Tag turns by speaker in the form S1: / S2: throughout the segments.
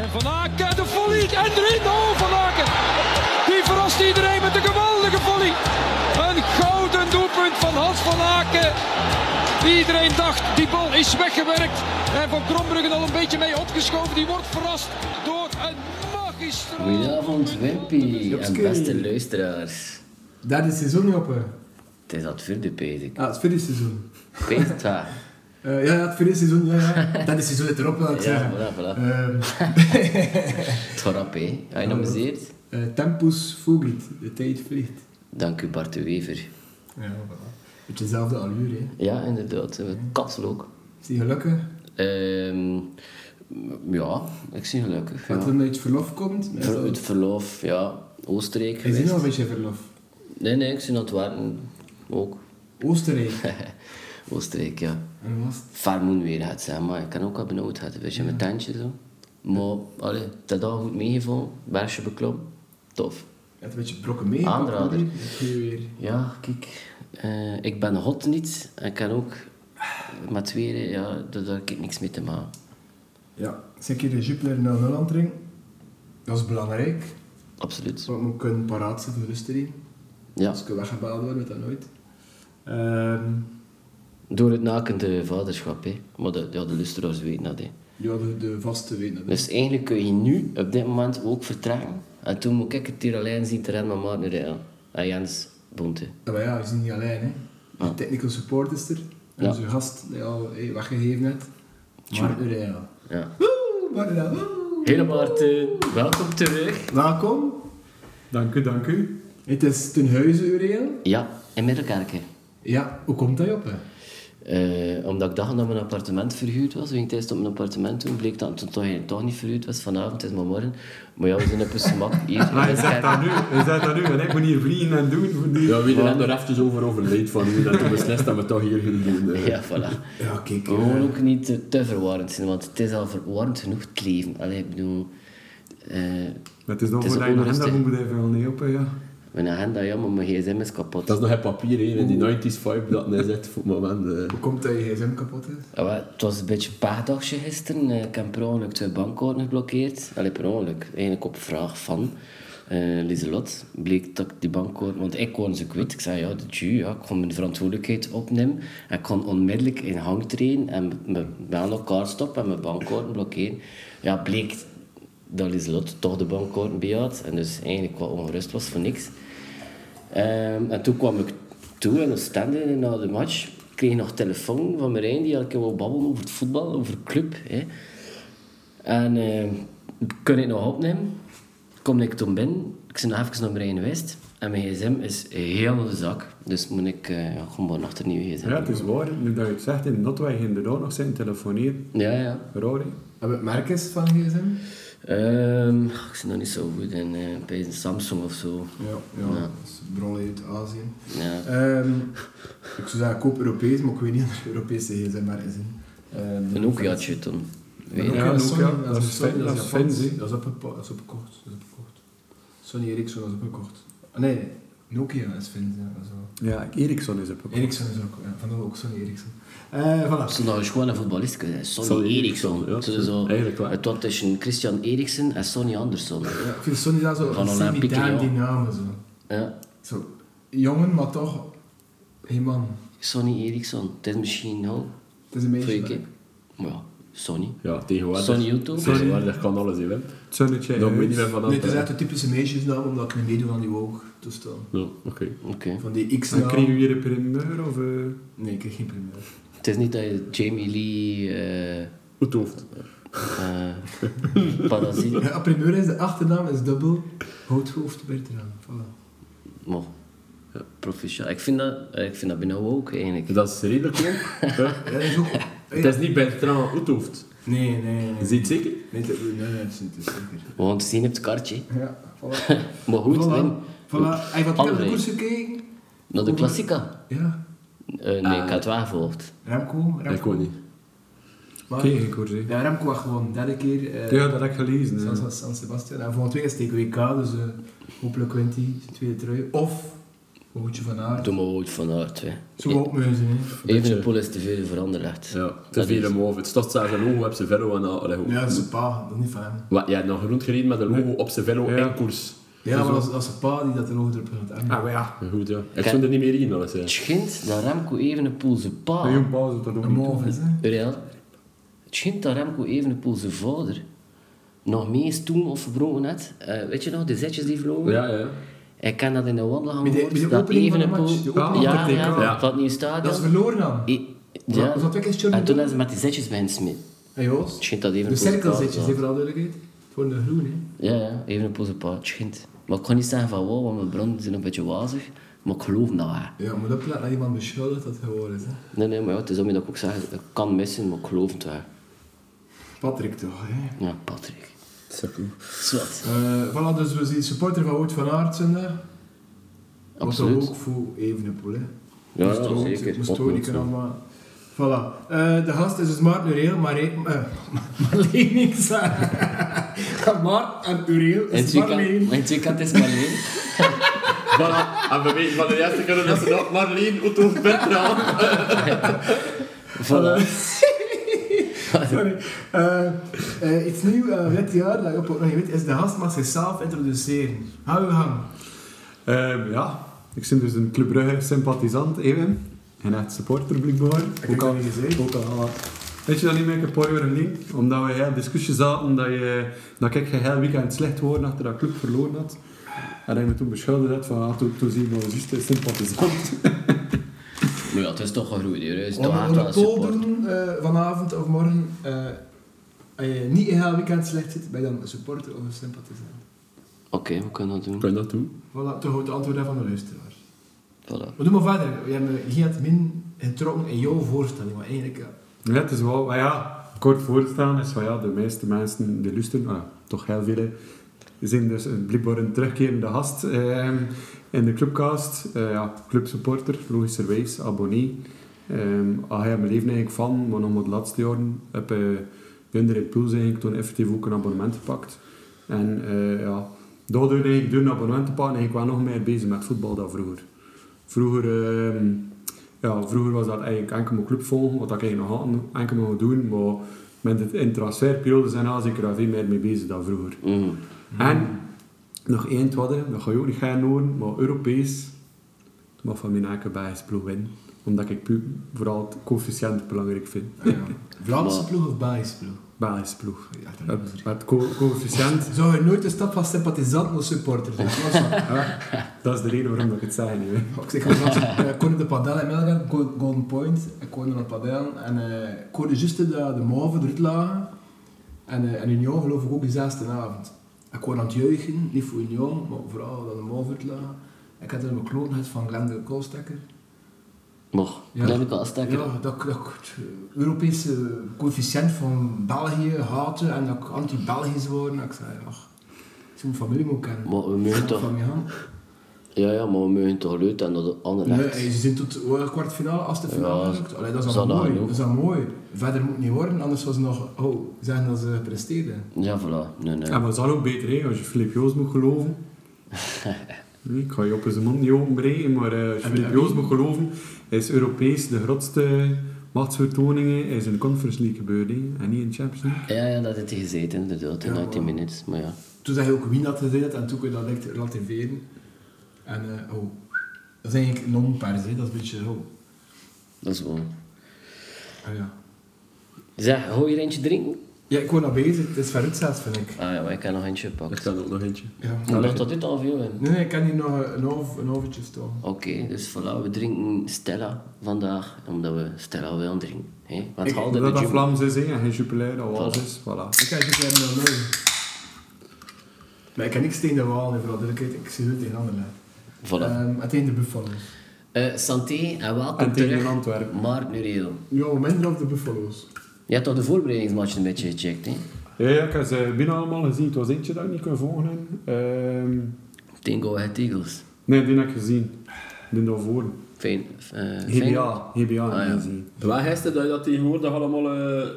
S1: En Van Aken, de volley. En erin. Oh, Van Aken. Die verrast iedereen met een geweldige volley. Een gouden doelpunt van Hans van Aken. Iedereen dacht, die bal is weggewerkt. En Van Krombruggen al een beetje mee opgeschoven. Die wordt verrast door een magistraal.
S2: Goedenavond Wimpy en beste luisteraars.
S3: Derde seizoen, Joppe.
S2: Het is dat vierde, Peter.
S3: Ah, het vierde seizoen.
S2: Peter,
S3: Eh, ja, ja, het vierde seizoen, ja, ja. Derde seizoen zit erop, laat ik
S2: Ja,
S3: zeggen.
S2: voilà, voilà.
S3: Ehm,
S2: het gaat rap, hè. Ga je nomineerd?
S3: eh, tempus fugit, de tijd vliegt.
S2: Dank u, Bart de Wever.
S3: Ja, voilà. Beetje dezelfde allure, hè.
S2: Ja, inderdaad. eh, Katslook.
S3: Is die gelukkig?
S2: Ehm ja, ik zie gelukkig.
S3: Gaat
S2: Ja.
S3: het omdat je uit verlof komt? Is
S2: Ver,
S3: dat-
S2: het verlof, ja. Oostenrijk
S3: Is die
S2: geweest.
S3: nog een beetje verlof?
S2: Nee, nee, ik zie aan het werken. Ook.
S3: Oostenrijk.
S2: Oostenrijk, ja.
S3: En was het?
S2: Vermoen weer gaat zijn, maar ik kan ook al benauwd hebben. Weet je, met tentje zo. Maar, allee, dat had goed meegevallen. Bergje beklom. Tof.
S3: Je had een beetje brokken mee.
S2: Aanrader.
S3: Dat kun je weer.
S2: Ja, kijk. eh, ik ben hot niet. En ik kan ook met weer, eh, ja, daar daar heb ik niks mee te maken.
S3: Ja, zeker de Jupiler 0-0 aantring. Dat is belangrijk.
S2: Absoluut.
S3: Want we kunnen paraat zijn voor Oostenrijk.
S2: Ja.
S3: Als ik weggebaald word, weet dat nooit. Ehm,
S2: Door het nakende vaderschap, hè. Maar dat, ja, de luisteraars weten dat, hè.
S3: ja, de, de vaste weten dat.
S2: Dus eigenlijk kun je nu, op dit moment, ook vertragen. En toen moet ik het hier alleen zien te redden met Maarten Rijl. En Jens Bonte.
S3: Ja, maar ja, we zijn niet alleen. Hè. De
S2: Ah.
S3: technical support is er. En
S2: Ja.
S3: onze gast die al hey, weggegeven hebt. Mark Ureel.
S2: Ja.
S3: Woe, Mark Ureel, woe.
S2: Hele Maarten, welkom terug.
S3: Welkom.
S4: Dank u, dank u.
S3: Het is ten huize Ureel.
S2: Ja, in Middelkerken.
S3: Ja, hoe komt dat op? Hè?
S2: Eh, omdat ik dacht dat mijn appartement verhuurd was. Ging tijdens op mijn appartement toen bleek dat het toen toch, toch niet verhuurd was. Vanavond het is maar morgen. Maar ja, we zijn op een smak hier. in
S4: Maar je
S2: Middelkerken.
S4: zegt dat nu, je zegt dat nu, en ik moet hier vliegen en doen voor die...
S5: Ja, wie er net er even over overleed van hoe dat toen beslist dat we toch hier gingen doen. eh.
S2: Ja, voilà.
S3: Ja, kijk.
S2: We mogen ook niet te, te verwarrend zijn, want het is al verwarrend genoeg het leven. Allee, ik bedoel... eh,
S4: Maar het is nog
S2: Het is
S4: voor dat je nog
S2: onrustig.
S4: dat moet even wel nee op, hè, ja.
S2: mijn agenda, ja, maar mijn gsm is kapot.
S5: Dat is nog het papier hè, in die 90s vibe dat hij zit voor het moment. eh.
S3: Hoe komt dat je gsm kapot is?
S2: Ja, maar het was een beetje een paardagje gisteren. Eh, Ik heb per ongeluk twee bankkaarten geblokkeerd. Allee, per ongeluk. Eigenlijk op vraag van eh Lieselot bleek dat ik die bankkaart... Want ik kon ze kwijt. Ik zei, ja, dat je, ja, ik kon mijn verantwoordelijkheid opnemen. En ik kon onmiddellijk in hang trainen en m- mijn baan elkaar stoppen en mijn bankkaarten blokkeren. Ja, bleek dat Lieselot toch de bankkaarten bij had. En dus eigenlijk wat ongerust was voor niks. Ehm, en toen kwam ik toe in Oostende en na de match. Ik kreeg nog telefoon van Marijn die elke keer wou babbelen over het voetbal, over de club. Hè. En ehm kon ik nog opnemen. Kom ik toen binnen, ik ben nog even naar Marijn geweest. En mijn gsm is heel in de zak. Dus moet ik eh, ja, gewoon maar nog een nieuwe gsm.
S4: Ja, het is waar. Nu dat je het zegt, in Notwij ging inderdaad nog zijn telefoneren.
S2: Ja, ja.
S4: Raar, hè.
S3: Heb je het merk eens van gsm?
S2: Ehm, ik ben nog niet zo goed in eh, bij een Samsung of zo.
S3: Ja, ja.
S2: Ja.
S3: dat is een bron uit Azië.
S2: Ja.
S3: Ehm, ik zou zeggen, koop Europees, maar ik weet niet of er Europese gsm-merk is. Ehm,
S2: Een Nokia'tje toen. Weet
S4: Ja,
S3: Ja,
S4: een
S3: Sony,
S4: Nokia.
S3: dat is Sony, dat is
S4: Fins,
S3: Japans.
S4: hè.
S3: Dat is opgepo- dat is opgekocht. Dat is opgekocht. Sony Ericsson dat is opgekocht. Ah, Nee, Nokia is Fins. Ja, dat is wel-
S4: Ja, Ericsson is op.
S3: Ericsson is ook, ja, vandaar ook Sony Ericsson. Eh
S2: Ze
S3: voilà.
S2: zijn nou een schone voetballist kunnen zijn. Sonny,
S5: Sonny
S2: Eriksson.
S5: Eriksson, ja.
S2: Zo- zo,
S5: Eigenlijk wel.
S2: Het was tussen Christian Eriksen en Sonny Andersson.
S3: Ja, ik vind Sony daar zo
S2: Van
S3: een
S2: Olympique
S3: semi-daan
S2: Lyon.
S3: die namen. Zo.
S2: Ja.
S3: zo, jongen, maar toch geen man.
S2: Sonny Eriksson. Het is misschien al
S3: Het is een
S2: voor
S3: beetje...
S2: je kip. Maar ja, Sonny.
S5: Ja, tegenwoordig.
S2: Sony YouTube.
S5: Tegenwoordig kan alles in web.
S4: Het zonnetje
S5: Dan
S4: in
S5: moet je niet
S4: huis.
S5: meer van eh.
S3: Nee, het is echt
S5: aan.
S3: een typische meisjesnaam, omdat ik niet meedoe aan die woke toestel.
S5: Ja, oké.
S2: Oké.
S3: Van die
S4: Dan kreeg
S3: X-naam.
S4: je hier een primeur, of... eh,
S3: Nee, ik kreeg geen primeur.
S2: Het is niet dat je Jamie Lee... eh
S5: Goed hoofd.
S2: eh parasiet...
S3: Ja, primeur is de achternaam, is dubbel. Houd hoofd Bertrand. Voilà.
S2: Maar, ja, proficiat. Ik vind dat, eh, ik vind dat bijna ook eigenlijk.
S5: Dat is redelijk ook. Ja.
S3: Ja, dat is ook...
S5: Het is niet Bertrand goed hoofd.
S3: Nee, nee, nee.
S5: Is dit zeker?
S3: Nee, dat- nee, nee, dat is niet dat is zeker.
S2: We gaan het zien op het kaartje.
S3: Ja, voilà.
S2: Maar goed,
S3: voilà.
S2: Wim,
S3: Voilà. Hij had naar de
S2: André.
S3: koers gekeken.
S2: naar de klassica.
S3: Ja.
S2: Eh, nee, ik had
S5: Ah.
S2: het wel gevolgd.
S3: Remco.
S5: Ik
S3: Remco.
S5: weet niet. Ah.
S3: Maar-
S4: Kreeg ik hoor, zeg.
S3: Ja, Remco had gewoon derde keer. eh,
S4: Ja, dat heb ik gelezen.
S3: San,
S4: eh.
S3: San, San Sebastian. En volgende week is het tegen WK, dus eh, hopelijk wint hij zijn tweede trui. Of Woutje van Aert.
S2: Doe maar ooit van aard, hè.
S3: Zo ook mensen, hè.
S2: Evenepoel is te veel veranderd.
S5: Ja, te
S2: Dat
S5: veel
S2: is-
S5: hem over. Het stond zelfs een logo op zijn velo en al.
S3: Ja, dat is een pa, dat is niet van hem.
S5: Wat, jij hebt nog rondgereden met een logo op zijn velo
S4: Ja.
S5: en koers.
S3: Ja, maar dat is, dat is een pa die dat een oog erop gaat hebben.
S4: Ah, maar ja.
S5: Goed, ja. Ik
S2: Ken-
S5: zou er niet meer in, alles. hè.
S2: Het schijnt dat Remco Evenepoel zijn
S5: Ah.
S2: pa...
S4: Bij jong Paul zit dat ook
S3: Een
S4: niet toe.
S3: move is, hè.
S2: Real. Het schijnt dat Remco Evenepoel zijn vader nog mee is toen of verbroken had. Eh, weet je nog, de zetjes die vlogen?
S5: Ja, ja.
S2: Ik kan dat in de wandelgang
S3: Met die-
S2: horen,
S3: met die
S2: dat
S3: opening van de
S2: Evenepoel-
S3: match, die opening
S2: ja,
S3: van de
S2: ja,
S3: TK.
S2: ja, van het nieuwe stadion.
S3: Dat is verloren dan.
S2: I-
S3: Ja.
S2: ja.
S3: Dat is dat is Johnny
S2: En toen hebben ze met die zetjes bij hen smit.
S3: Hey, Joost.
S2: Het schijnt dat
S3: De
S2: Evenepoel zijn pa
S3: cirkelzetjes,
S2: was.
S3: hè, voor alle duidelijkheid. Het worden de groen, hè.
S2: Ja, ja, Evenepoel zijn pa, het schijnt. Maar ik kan niet zeggen van wow, want mijn bronnen zijn een beetje wazig. Maar ik geloof dat wel.
S3: Ja, moet opletten dat iemand beschuldigt dat het geworden is, hè.
S2: Nee, nee, maar ja, het is om je dat ik ook zeg, ik kan missen, maar ik geloof het wel.
S3: Patrick toch, hè.
S2: Ja, Patrick. Zwat.
S3: Eh, voilà, dus we zien supporter van Wout van Aert zondag. Was dat
S2: Absoluut.
S3: ook voor Evenepoel, hè.
S2: Ja,
S3: moest
S2: ja,
S3: ook-
S2: zeker.
S3: Moest
S2: Ook
S3: ook niet
S2: moet,
S3: kunnen maar... Voilà. Eh, de gast is dus Maarten Ureel, maar... hij- eh, Marleen, ik zei- Maarten en Ureel
S2: In het
S3: is
S2: weekend-
S3: Marleen.
S2: in het weekend is Marleen.
S5: Voilà. En we weten van de eerste keer dat ze nog Marleen, Otto, Bertrand.
S2: Voilà.
S3: Sorry. Eh, eh, iets nieuws eh, dit jaar, dat ik ook nog niet weet, is de gast mag zichzelf introduceren. Hou je gang.
S4: Ehm, ja, ik ben dus een Club Brugge sympathisant, even. En echt supporterpubliek behoren.
S3: heb het niet gezegd.
S4: Ook al, weet je dat niet meer een paar uur geleden? Omdat we ja, discussie zaten dat, je, dat ik heel weekend slecht hoorde achter dat club verloren had. En hij me toen beschuldigd had van, ah, toen, toen zie je wel juist een sympathisant.
S2: Maar ja, het is toch gegroeid hier. Het is
S3: Om
S2: toch
S3: om een
S2: aantal
S3: poll
S2: support.
S3: doen eh, vanavond of morgen. eh, als je niet een heel weekend slecht zit, ben je dan een supporter of een sympathisant?
S2: Oké, we kunnen dat doen.
S5: Kan je dat doen?
S3: Voilà, toch het antwoord daarvan de luisteraar.
S2: Voilà.
S3: We doen maar verder. Je hebt hier het min getrokken in jouw voorstelling, maar eigenlijk... eh,
S4: Ja, het is wel, maar ja, kort voorstaan is van ja, de meeste mensen, de lusten, ah, toch heel veel, zijn dus blijkbaar een terugkerende gast ehm, in de clubcast. Eh, ja, clubsupporter, logischerwijs, abonnee. Ehm al heb ik mijn leven eigenlijk van, maar nog maar de laatste jaren heb ik Junder in Puls eigenlijk toen effectief ook een abonnement gepakt. En eh, ja, daardoor eigenlijk door een abonnement te pakken, eigenlijk wel nog meer bezig met voetbal dan vroeger. Vroeger... ehm, ja, vroeger was dat eigenlijk enkel mijn club volgen, wat ik eigenlijk nog had, enkel mocht doen. Maar met het in transferperiode zijn al zeker al veel meer mee bezig dan vroeger.
S2: Mm.
S4: En nog één tweede, dat ga je ook niet gaan horen, maar Europees mag van mijn eigen bijsploeg winnen. Omdat ik pu- vooral het coëfficiënt belangrijk vind.
S3: ah ja. Vlaamse
S2: Maar-
S3: ploeg of Belgische ploeg?
S4: Belgisch ploeg.
S3: Ja, dat
S4: Het,
S3: is het.
S4: het co- coëfficiënt,
S3: Zou je nooit de stap van sympathisant naar supporter zijn? Dat was wat.
S4: ja, dat is de reden waarom dat ik het zeg niet. hè.
S3: Ik zeg gewoon, ik kon eh, de padel in Melga, Golden Point, ik kon naar de padel en eh, ik hoorde juist de, de mauve eruit lagen. En, eh, en Union geloof ik ook de zesde avond. Ik kon aan het juichen, niet voor Union, maar vooral dat de mauve eruit lagen. Ik had er mijn kloon gehad van Glenn de Koolstekker.
S2: Mag.
S3: Ja.
S2: Neem ik al stekker.
S3: Ja, dat ik dat ik het Europese coëfficiënt van België haatte en dat ik anti-Belgisch worden. Ik zei, ach, ik moet familie moet kennen.
S2: Maar we mogen toch...
S3: Van mij aan.
S2: Ja, ja, maar we mogen toch leuk en dat andere
S3: Nee,
S2: recht.
S3: ze zijn tot eh, kwartfinale, als de finale
S2: Ja,
S3: lukt. Allee, dat is
S2: is
S3: al
S2: dat
S3: mooi.
S2: genoeg?
S3: Dat is al mooi. Verder moet het niet worden, anders was het nog... Oh, zeggen dat ze gepresteerd
S2: Ja, voilà. Nee, nee.
S4: En dat is al ook beter, hè, als je Filip Joos moet geloven. Nee, ik ga je op zijn mond niet openbreken, maar eh, als je
S3: En
S4: Filip
S3: wie-
S4: Joos moet geloven, is Europees de grootste machtsvertoningen is in de Conference League gebeurd, hè, en niet in de Champions League.
S2: Ja, ja, dat heeft hij gezeten, inderdaad, in
S3: Ja,
S2: 19
S3: maar-
S2: minutes. Maar ja.
S3: Toen zei je ook wie dat gezien had en toen kun je dat direct relativeren. En eh, oh, dat is eigenlijk non-pers, hè. dat is een beetje... Oh,
S2: Dat is wel...
S3: ah, ja.
S2: Zeg, hou je er eentje drinken?
S3: ja, ik word nog bezig. Het is veruit zelfs, vind ik.
S2: Ah ja, maar ik heb nog eentje
S5: Ik
S2: gepakt.
S5: kan ook nog eentje.
S3: Ja.
S2: Ik dacht dat dit al veel in.
S3: Nee, nee, ik kan hier nog een half, een halvetje staan.
S2: Oké, dus voilà, we drinken Stella vandaag, omdat we Stella willen drinken. hè? Want
S4: Ik-
S2: haal
S4: dat
S2: de
S4: dat
S2: gym.
S4: Vlaams is hè, en geen Jupiler, dat Waals is, voilà.
S3: Ik kan je klein nog nooit. Maar ik kan niks tegen de Waal, hè, vooral duidelijkheid. Ik zie het tegen anderen.
S2: Voilà.
S3: Ehm, en tegen de Buffalo's.
S2: Eh, santé en welkom
S4: En tegen
S2: terug,
S4: Antwerpen.
S2: Maarten Nureel.
S3: Ja, minder op de Buffalo's.
S2: Je hebt toch de voorbereidingsmatch een beetje gecheckt, hè?
S4: Ja, ja, ik heb ze binnen allemaal gezien. Het was eentje dat ik niet kon volgen. hè. Ehm,
S2: Tegen Go Ahead Eagles.
S4: nee, die heb ik gezien. Die daarvoor.
S2: Fijn. eh, fijn.
S4: GBA. GBA
S2: Ah,
S4: heb ik
S2: ja.
S4: gezien.
S5: Waar gisteren dat je dat tegenwoordig allemaal eh eh,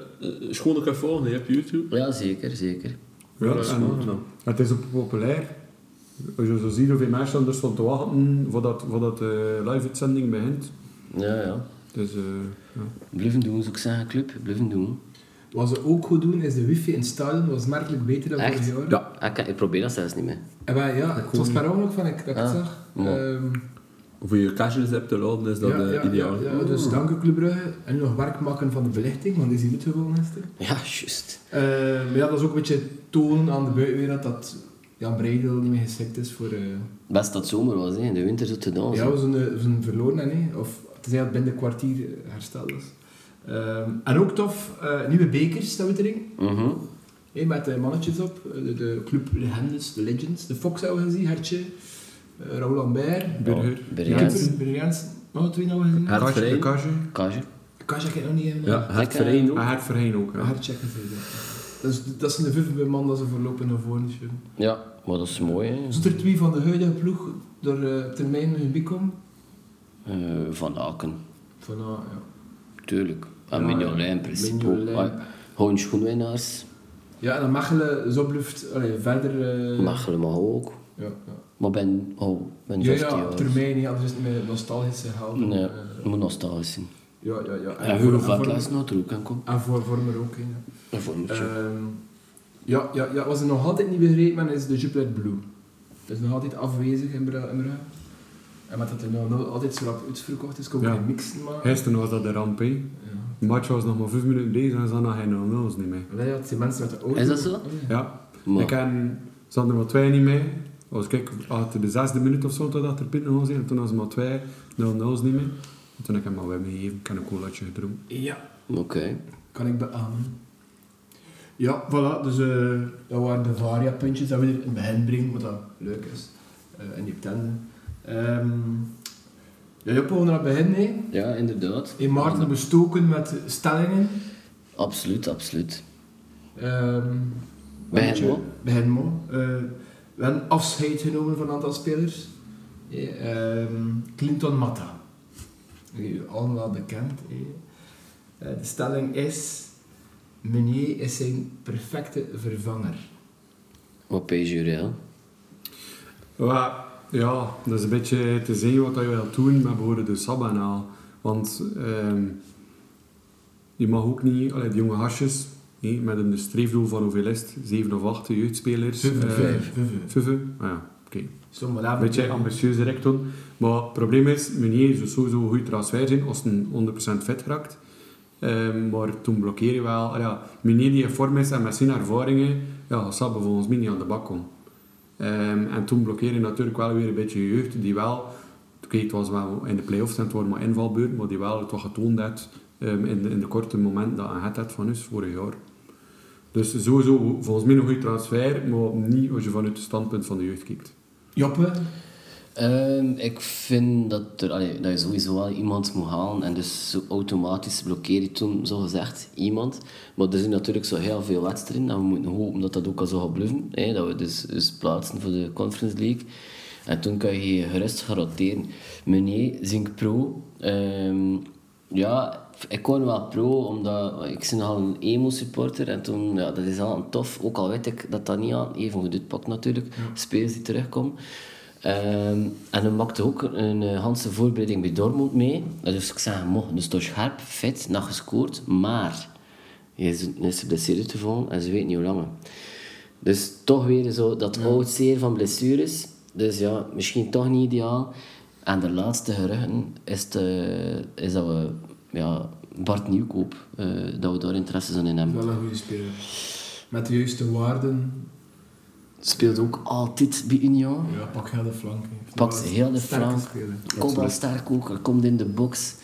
S5: schone kan volgen hè, op YouTube?
S2: Ja, zeker, zeker.
S4: Ja,
S5: dat is
S4: en
S5: goed, nou.
S4: Het is ook populair. Als je zo ziet hoeveel mensen er stonden te wachten voordat, voordat de live-uitzending begint.
S2: Ja, ja.
S4: Dus, eh, ja.
S2: Blijven doen, zou ik zeggen, club. Blijven doen.
S3: Wat ze ook goed doen, is de wifi in het stadion was merkelijk beter dan vorig
S2: Echt? Ah,
S3: jaar.
S2: Ik, kan- ik probeer dat zelfs niet meer.
S3: En wij, ja, het was per ongeluk van ik, dat ik het
S2: Ah,
S3: zag.
S2: mooi.
S3: Ehm,
S6: Voor je cashless hebt te laden is dat
S3: ja,
S6: eh,
S3: ja,
S6: ideaal.
S3: ja, ja, dus dank u Club Brugge. En nu nog werk maken van de belichting, want die is hier niet gewoon gisteren.
S2: Ja, juist.
S3: Eh, maar ja, dat is ook een beetje tonen aan de buitenwereld dat Jan Breidel niet meer geschikt is voor... eh,
S2: Best dat zomer was, hè. in de winter zit te dansen.
S3: Ja, we zijn, eh, we zijn verloren, hè, nee. Of tenzij dat binnen een kwartier eh, hersteld is. Ehm, en ook tof, eh, nieuwe bekers dat we drinken.
S2: Mhm.
S3: Hé, met de mannetjes op. Eh, de, de club Legendes, de Legends. De Fox hebben we gezien, Hertje. eh Raoul Lambert.
S4: Burger.
S2: Bergens,
S3: Kipper, Berg Jansen. Nog twee nou gezien.
S6: Hart
S4: Kasje,
S6: Verheyen.
S4: de Kasje.
S2: Kaasje.
S3: Kasja, ik heb nog niet helemaal.
S6: Ja, Hart
S2: Lekker.
S6: Verheyen ook.
S4: En Hert Verheyen ook.
S3: Ja,
S4: Ja.
S3: Hertje heb ik gezien, ja. Dus dat zijn de vijf man dat ze voorlopig naar voren schuiven.
S2: Ja, maar dat is mooi. Hè.
S3: Zijn er twee van de huidige ploeg door eh, termijn hun bik komen?
S2: Eh, van Aken,
S3: Van, ah, ja.
S2: tuurlijk. En
S3: Ja,
S2: Ah, Mignolet in
S3: ja.
S2: principe Ah, ook.
S3: Mignolet.
S2: Maar Gewoon schoenwinnaars.
S3: Ja, en dan Mechelen, Zobluft, allee, verder... eh,
S2: Machelen mag ook.
S3: Ja, ja.
S2: Maar ben, oh, ben
S3: Ja,
S2: 15
S3: ja,
S2: jaar.
S3: op termijn, niet, anders is het met nostalgische helden.
S2: Nee,
S3: Eh,
S2: moet nostalgisch zijn.
S3: ja, ja, ja.
S2: En Hugo
S3: voor-
S2: Vetlaas nou er ook aan komt.
S3: En voor, voor me ook, hè, ja.
S2: Een vormertje.
S3: Ehm, ja, ja, ja. Wat ze nog altijd niet begrepen hebben, is de Jupiler Blue. Dat is nog altijd afwezig in Bru- in Brugge. En met dat er nou, nou altijd zo rap uitverkocht is, kon ik
S4: Ja.
S3: geen mixen maken.
S4: Gisteren was dat de ramp. hè.
S3: Ja.
S4: De match was nog maar 5 minuten bezig en ze hadden nog geen 0-0's niet meer.
S3: Allee, ja, het zijn mensen met de auto.
S2: Is dat zo?
S3: Oh, ja.
S4: Ja,
S2: Maar-
S4: ik en ze hadden er maar twee niet mee. Als ik achter de zesde minuut of zo, toen dat er Pitten was, en toen was maar twee 0-0's niet meer. En toen heb ik hem al weer meegegeven, ik heb een colaatje gedronken.
S3: Ja,
S2: Oké.
S3: kan ik beamen. Ja, voilà. Dus eh, dat waren de varia-puntjes dat we er in het begin brengen, wat dat leuk is. eh in die tenden. Ehm ja, Joppe, we gaan naar het begin, hè.
S2: Ja, inderdaad.
S3: In Maarten bestoken met stellingen.
S2: Absoluut, absoluut.
S3: Ehm,
S2: Bij
S3: want je-
S2: Henmo.
S3: Bij Henmo. Eh, we hebben afscheid genomen van een aantal spelers. Eh, ehm, Clinton Matta. Die Allen wel bekend. eh. Eh, de stelling is... Meunier is zijn perfecte vervanger.
S2: Wat Pejurel.
S4: Maar ja, dat is een beetje te zien wat je wil doen met bijvoorbeeld de Sabana. Want ehm, je mag ook niet, allee, de jonge hasjes, hé, met een streefdoel van hoeveel is het? Zeven of acht jeugdspelers. eh, Vijf, ah, ja, oké. Een beetje ambitieus direct doen. Maar het probleem is, meneer zou sowieso een goede transfer zijn als hij 100% fit raakt. Ehm, maar toen blokkeer je wel. ah Ja, meneer die in vorm is en met zijn ervaringen, ja, gaat Sabbe volgens mij niet aan de bak komen. Ehm, en toen blokkeer je natuurlijk wel weer een beetje je jeugd, die wel, oké, het was wel in de play-offs en het waren maar invalbeurten, maar die wel het wat getoond heeft ehm, in, de, in de korte moment dat hij het had van ons vorig jaar. Dus sowieso volgens mij een goede transfer, maar niet als je vanuit het standpunt van de jeugd kijkt.
S3: Joppe.
S2: Ehm, ik vind dat, er, allee, dat je sowieso wel iemand moet halen en dus zo automatisch blokkeer je toen, zogezegd, iemand. Maar er zijn natuurlijk zo heel veel wedstrijden en we moeten hopen dat dat ook al zo gaat bluffen. Hè, dat we dus, dus plaatsen voor de Conference League. En toen kan je gerust garanderen. Meneer, Zink Pro. ehm, ja, ik kon wel pro, omdat ik ben al een emo-supporter. En toen, ja, dat is al een tof. Ook al weet ik dat dat niet aan even goed uitpakt natuurlijk. Spelers die terugkomen. Ehm, en dan maakte ook een eh, Hanse voorbereiding bij Dortmund mee. Dus ik zei, mocht, dus toch scherp, fit, nog gescoord, maar je is, is geblesseerd te vallen en ze weet niet hoe lang. Dus toch weer zo dat oud zeer van blessures. Dus ja, misschien toch niet ideaal. En de laatste geruchten is, de, is dat we ja, Bart Nieuwkoop, eh, dat we daar interesse zijn in hebben.
S3: Wel een goede speler. Met de juiste waarden.
S2: Speelt ook altijd bij Union.
S3: Ja, pak heel de flanken.
S2: Pak ze heel de
S3: Sterke
S2: flank.
S3: speler.
S2: Komt wel sterk ook, hij komt in de box.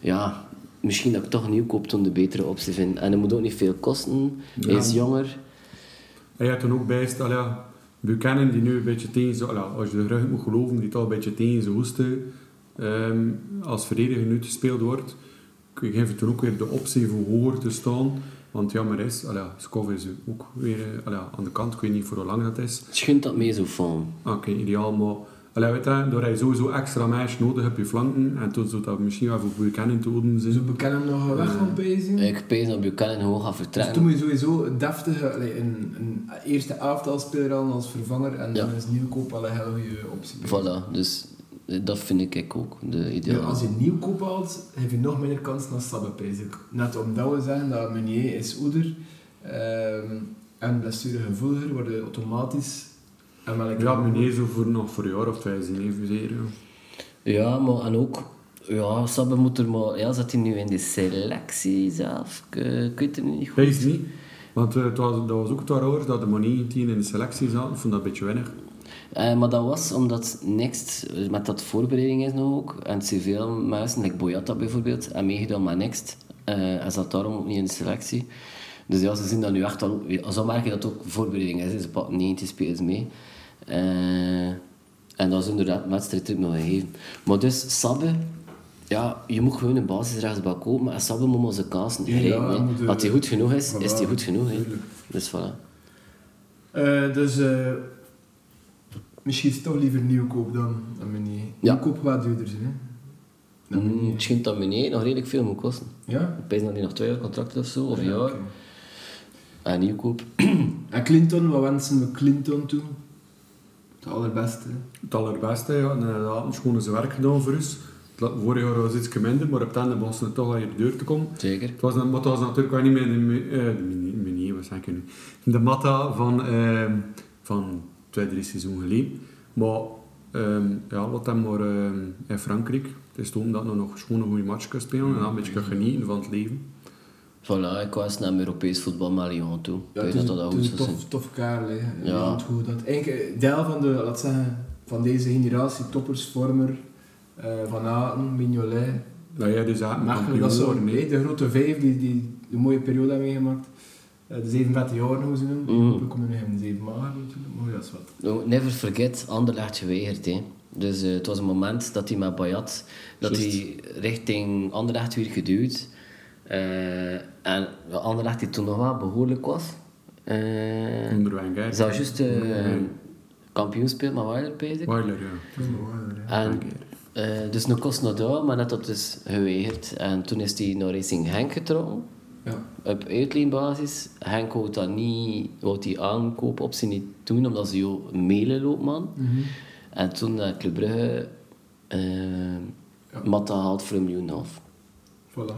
S2: Ja, misschien dat ik toch nieuw koop om de betere optie vind. En het moet ook niet veel kosten. Hij is jonger.
S4: Hij had toen ook bijst, al ja, Buchanan die nu een beetje tegen zijn, allee, als je de rug moet geloven, die toch een beetje tegen zijn hoesten ehm, als verdediger nu gespeeld wordt. Ik geef toen ook weer de optie voor hoger te staan. Want jammer is, allee, Skov is ook weer eh, allee, aan de kant. Ik weet niet voor hoe lang dat is. Ah,
S2: Het schunt dat mee zo van.
S4: Oké, ideaal, maar Allee, weet je, door hij sowieso extra meisjes nodig hebt op je flanken. En toen zou dat misschien wel voor Buchanan te houden
S3: Zo
S4: zijn.
S3: bekend Dus hem nog weg gaan pezen.
S2: Ik pees dat Buchanan gewoon gaat
S3: Dus toen
S2: vertrekken.
S3: moet je sowieso een deftige, allee, een, een eerste elftalspeler halen als vervanger en
S2: Ja.
S3: dan is Nieuwkoop wel een hele goede optie.
S2: Voilà, dus dat vind ik ook de
S3: Ja,
S2: ideale.
S3: als je Nieuwkoop haalt, heb je nog minder kans dan Sabbe, pees ik. Net omdat we zeggen dat Meunier is oeder ehm, en blessuregevoeliger worden automatisch en wel een
S4: Ja,
S3: keer-
S4: meneer, zo voor nog voor een jaar of twee zijn even zeer, ja.
S2: Ja, maar en ook, ja, Sabbe moet er maar, ja, zat hij nu in de selectie zelf? Ik, eh, ik weet het niet goed.
S4: Dat is niet. Want eh, het was, dat was ook het waarover dat de manier die in de selectie zat, ik vond dat een beetje weinig.
S2: Eh, maar dat was omdat Next, eh, met dat voorbereiding is nog ook, en zoveel mensen, like Boyata bijvoorbeeld, hebben meegedaan met Next. eh en zat daarom ook niet in de selectie. Dus ja, ze zien dat nu echt al, zo merk je dat het ook voorbereiding is, hè. ze pakken 19 spelers mee. Eh, en dat is inderdaad wedstrijd ook nog gegeven. Maar dus Sabbe, ja, je moet gewoon een basisrechtsbak kopen, en Sabbe moet maar zijn kansen
S3: Ja,
S2: grijpen.
S3: hij
S2: hè.
S3: moet, eh,
S2: Als hij goed genoeg is, is
S3: voilà,
S2: hij goed genoeg. hè.
S3: tuurlijk.
S2: Dus voilà.
S3: Eh, dus eh, misschien is het toch liever Nieuwkoop dan een Meunier.
S2: Ja.
S3: Nieuwkoop wat duurder zijn, hè? Dan Meunier.
S2: Mm, het schijnt dat meneer nog redelijk veel moet kosten.
S3: Ja?
S2: Ik denk dat hij nog twee jaar contract heeft of zo, of een
S3: Ja,
S2: jaar.
S3: oké.
S2: En nieuwkoop.
S3: En Clinton, wat wensen we Clinton toe? Het allerbeste.
S4: Het allerbeste, ja. En eh, hij had gewoon zijn werk gedaan voor ons. Het la- Vorig jaar was het iets minder, maar op het einde begon het toch wel hier de deur te komen.
S2: Zeker.
S4: Het was, maar het was natuurlijk wel niet meer de, me- eh, de mini- mini, wat zeg ik nu? De matta van, ehm, van twee, drie seizoenen geleden. Maar ehm, ja, wat dan maar ehm, in Frankrijk. Het is toen dat je nog schoon een goede match kunt spelen en dan een beetje kunt genieten van het leven.
S2: Voilà, ik was naar Europees voetbal met Lyon toe.
S3: Ja,
S2: ik weet
S3: het is-
S2: dat dat
S3: het
S2: goed
S3: is
S2: zou
S3: een
S2: zijn.
S3: tof, tof karel, hè.
S2: Ja.
S3: Ja. Goed, dat eigenlijk eh, deel van de, laat zeggen, van deze generatie toppers, Vormer, eh, Van Aten, Mignolet,
S4: Dat jij dus eigenlijk
S3: Mechelen,
S4: kampioen
S3: dat
S4: wordt.
S3: soort, hè, de grote vijf die, die de mooie periode hebben meegemaakt. Eh, de zeven vette jaren, hoe ze noemen.
S2: Mhm.
S3: We komen nu in de zeven mager natuurlijk, maar ja, dat is wat.
S2: No, Nou, never forget, Anderlecht geweigerd. Hè. Dus eh, het was een moment dat hij met Bayat, dat hij richting Anderlecht werd geduwd. Eh, en ja, Anderlecht die toen nog wel behoorlijk was. Eh
S4: Onder Wenger.
S2: zou juist eh kampioen spelen met Wilder, bezig.
S4: Weiler, ja.
S2: En, eh, dus nog kost nog daar, maar net dat is geweigerd. En toen is hij naar Racing Henk getrokken.
S3: Ja.
S2: Op uitleenbasis. Henk wou dat niet, wou die aankoop op zijn niet doen, omdat ze jou mailen loopt, man. En toen naar Club Brugge, eh, Matta haalt voor een miljoen en een half.
S3: Voilà.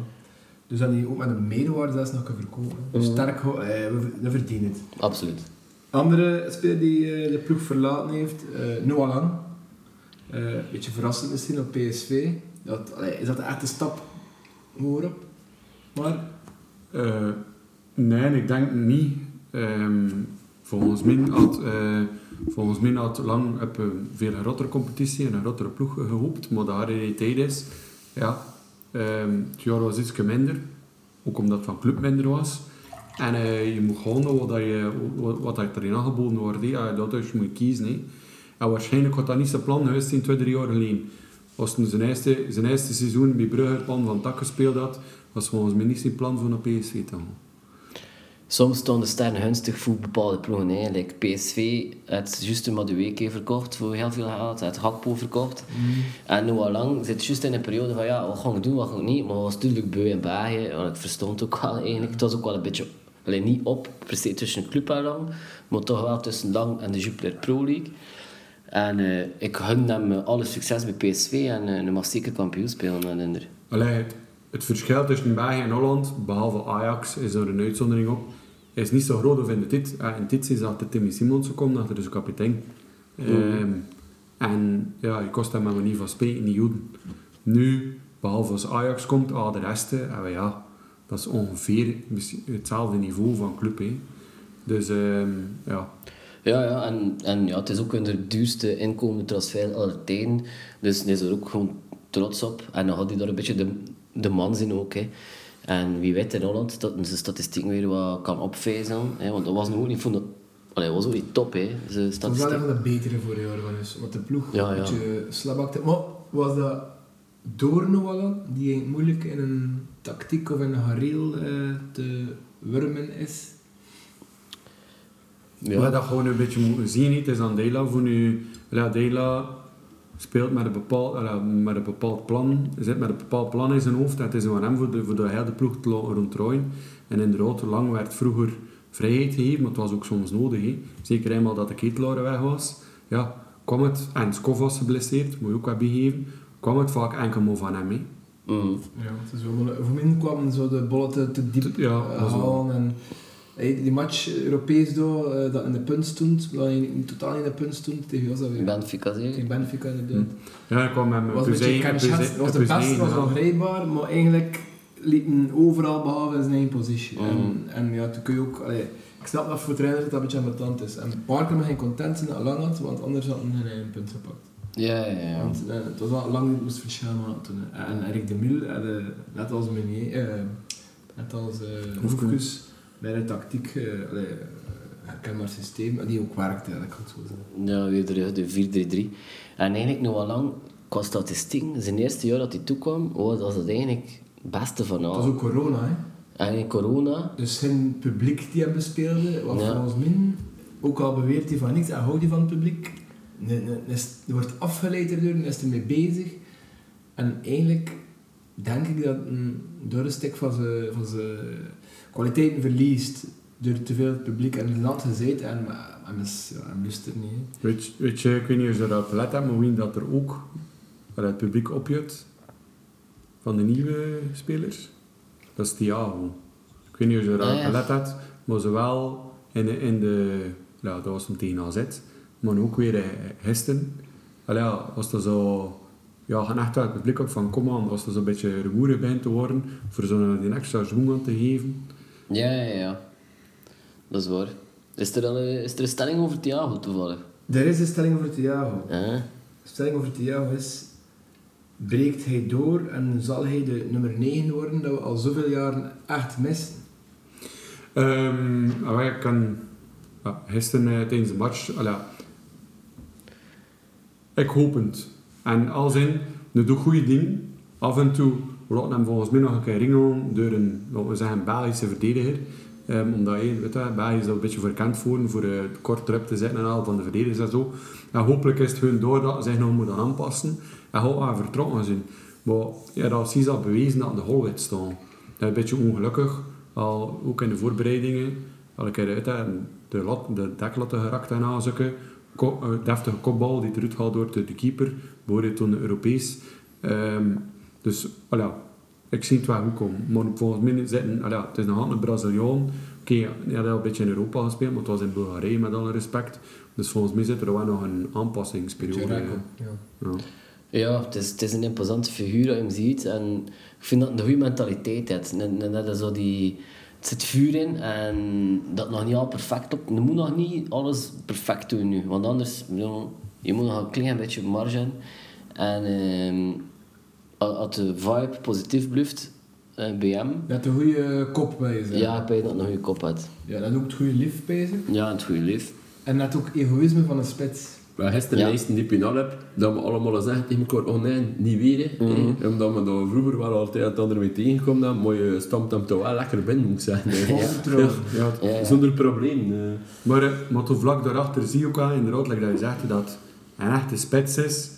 S3: Dus dat die ook met een meerwaarde zelfs nog kan verkopen.
S2: Mhm.
S3: Dus Sterk, ho- eh, we- dat verdient het.
S2: Absoluut.
S3: Andere speler die eh, de ploeg verlaten heeft, eh, Noah Lang. Eh, Een beetje verrassend misschien op PSV. Dat, allee, is dat echt een stap hogerop? Maar
S4: Eh, nee, ik denk niet. Ehm, volgens, mij had, eh, volgens mij had lang op een veel grotere competitie en een grotere ploeg gehoopt, maar de realiteit is, ja, ehm, het jaar was iets minder, ook omdat het van club minder was. En eh, je moet gewoon doen wat, dat je, wat, wat dat erin aangeboden wordt, hè. Ah, dat is, moet je kiezen. hè. En waarschijnlijk had dat niet zijn plan geweest in twee, drie jaar geleden. Als hij zijn eerste, zijn eerste seizoen bij Brugge het plan van tak gespeeld had, was volgens mij niet zijn plan voor naar PSV te gaan.
S2: Soms stonden sterren gunstig voor bepaalde ploegen. Hè. Like PSV had juist een Madueke verkocht voor heel veel geld. Hij had Gakpo verkocht. En Noah Lang zit juist in een periode van ja, wat gaan we doen, wat gaan we niet. Maar hij was natuurlijk beu in België. Want ik verstond het ook wel eigenlijk. Het was ook wel een beetje, allee, niet op per se tussen Club en Lang. Maar toch wel tussen Lang en de Jupiler Pro League. En eh, ik gun hem eh, alle succes bij PSV. En eh, hij mag zeker kampioen spelen met Inder.
S4: Allee, het, het verschil tussen België en Holland, behalve Ajax, is er een uitzondering op, is niet zo groot of in de tit. En in dit is dat de Timmy Simons komt, dat er dus kapitein. Ehm, En ja, je kost hem maar niet van spreken, niet joden. Nu, behalve als Ajax komt, ah, de rest, eh, ah, ja, dat is ongeveer misschien hetzelfde niveau van club. Hè. Dus ehm, ja,
S2: Ja, ja en, en ja, het is ook de duurste inkomende transfer aller tijden. Dus hij is er ook gewoon trots op. En dan had hij daar een beetje de, de man in ook. Hè. En wie weet in Holland dat hij zijn statistiek weer wat kan opvijzelen. Hè, want dat was nu ook niet, van de, allee, was ook niet top, hè, zijn
S3: dat was wel een
S2: statistiek.
S3: van de betere voor jou, Johannes. Want de ploeg
S2: Ja, ja.
S3: een beetje slabakte. Maar was dat door Noah Lang, die eigenlijk moeilijk in een tactiek of in een gareel eh, te wurmen is?
S4: Ja.
S2: Ja.
S4: Maar dat gewoon een beetje moeten zien. hè. Het is aan Dela voor nu. Ja, Dela speelt met een bepaald, eh, met een bepaald plan, zit met een bepaald plan in zijn hoofd. En het is aan hem voor de, voor de hele ploeg te laten ronddraaien. En inderdaad, lang werd vroeger vrijheid gegeven, maar het was ook soms nodig. hè. Zeker eenmaal dat de ketelaar weg was, ja, kwam het, en Skov was geblesseerd, moet je ook wat bijgeven, kwam het vaak enkel maar van hem. hè.
S2: Mm.
S3: Ja, het is wel moeilijk. voor mij kwamen zo de bollen te, te diep
S4: Ja,
S3: eh,
S4: dat is wel-
S3: halen. En, hey, die match eh, Europees door, eh, dat in de punt stond, dat je in- totaal in de punt stond tegen was dat weer.
S2: Benfica zeker.
S3: Tegen Benfica
S4: Hmm.
S3: inderdaad.
S4: Ja, ik kwam met mijn
S3: was een beetje
S4: en
S3: kenschat,
S4: Puzijn-
S3: was de
S4: en
S3: beste,
S4: Puzijn,
S3: was
S4: ja.
S3: ongrijpbaar, maar eigenlijk liep men overal behalve in zijn eigen positie. En,
S2: Mm.
S3: en ja, toen kun je ook... Allee, ik snap dat voor trainers dat dat een beetje ambetant is. En Parker mag geen content zijn dat lang had, want anders had hij een punt gepakt.
S2: Ja, ja, ja.
S3: Want eh, het was wel lang dat het moest verschil maken toen. eh, En Erik de Mil had, eh, net als Meunier, eh, net als eh
S4: Hoefkens.
S3: Hoefkens, bij de tactiek, eh, allee, eh, herkenbaar systeem, en die ook werkte eigenlijk, kan ik zo zeggen.
S2: Ja, weer terug, de 4-3-3. En eigenlijk nog wel lang, qua statistiek, zijn eerste jaar dat hij toekwam, was dat het eigenlijk het beste van
S3: Het was
S2: al.
S3: ook corona, hè.
S2: En in corona,
S3: Dus geen publiek die hem bespeelde, wat
S2: Ja.
S3: volgens mij, ook al beweert hij van niks en houdt hij van het publiek, ne, ne, ne is- die wordt afgeleid erdoor, ne is ermee bezig. En eigenlijk denk ik dat een doorstek van zijn, van zijn kwaliteiten verliest door te veel het publiek en het land gezeten en en is ja, hem lust er niet. hè.
S4: Weet, je- weet je, ik weet niet of je erop gelet hebt, maar wie dat er ook uit het publiek opjut van de nieuwe spelers, dat is Thiago. Ik weet niet of je erop
S2: Ah, ja.
S4: gelet hebt, maar zowel in de, in de ja, dat was hem tegen AZ, maar ook weer eh, gisteren. Allee, ja, als er zo, ja, gaan echt wel het publiek op van kom aan, als er zo'n beetje rumoerig bij te worden, voor zo'n eh, die extra zoen aan te geven.
S2: ja, ja, ja. Dat is waar. Is er, dan een, is er een stelling over Thiago toevallig?
S3: Er is een stelling over Thiago.
S2: Ja.
S3: De stelling over Thiago is... Breekt hij door en zal hij de nummer 9 worden dat we al zoveel jaren echt missen?
S4: Ehm, ah, ik kan ja, gisteren eh, tijdens de match. ah, ja. ik hoop het. En al zijn, de doet goede dingen. Af en toe we laten hem volgens mij nog een keer ringen door een, laten we zeggen, Belgische verdediger. Ehm, omdat je, weet je, België is daar een beetje verkend voor, voor eh, kort erop te zetten en al van de verdedigers en zo. En hopelijk is het hun door dat ze zich nog moeten aanpassen. En gaat maar vertrokken zijn. Maar ja, dat is al bewezen dat aan de holwit staan. Dat is een beetje ongelukkig. Al, ook in de voorbereidingen. Al een keer uit hè, de, lat, de deklatten gerakt en aanzoeken. Ko, eh, deftige kopbal die eruit gaat door de, de keeper. Behoorde toen de Europees. Ehm, dus voilà, ik zie het wel goed komen. Maar volgens mij zitten... Voilà, het is nog altijd een Braziliaan. Oké, ja, hij had al een beetje in Europa gespeeld, maar het was in Bulgarije met alle respect. Dus volgens mij zit er wel nog een aanpassingsperiode. eh.
S3: Tjurako, ja.
S4: Ja.
S2: Ja, het is, het is een imposante figuur dat je hem ziet. En ik vind dat het een goede mentaliteit heeft. Net, net- net als zo die, het zit vuur in en dat nog niet al perfect op. Je moet nog niet alles perfect doen nu. Want anders, ja, je moet nog een klein beetje marge hebben. En ehm, als als de vibe positief blijft eh, bij hem,
S3: Dat de goede kop bij
S2: ja,
S3: zijn.
S2: ja ik weet dat nog een kop uit.
S3: ja, dat ook het goede lief bij zijn.
S2: Ja, het goede lief.
S3: En dat ook egoïsme van een spits.
S6: Maar gisteren
S2: Ja.
S6: ja. die pinaal heb, dat we allemaal zeggen tegen elkaar, oh nee, niet weer. hè. Omdat we daar vroeger wel altijd het andere mee tegenkomen, dan, maar je stampt hem toch wel lekker binnen, moet ik zeggen. hè.
S3: Vol vertrouwen.
S4: Ja, het-
S2: Ja, ja.
S6: Zonder probleem. eh.
S4: Maar, eh, maar toen vlak daarachter zie je ook aan, inderdaad, like dat je zegt, dat een echte spits is.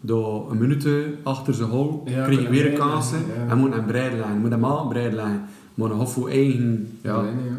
S4: Door een minuut achter zijn hol
S3: Ja,
S4: kreeg je
S3: kan
S4: weer een
S3: hem breid
S4: kans.
S3: leggen, ja.
S4: En moet hem breid leggen, moet hem aan breid leggen. Maar een hof voor eigen. Ja.
S3: Nee, nee, ja.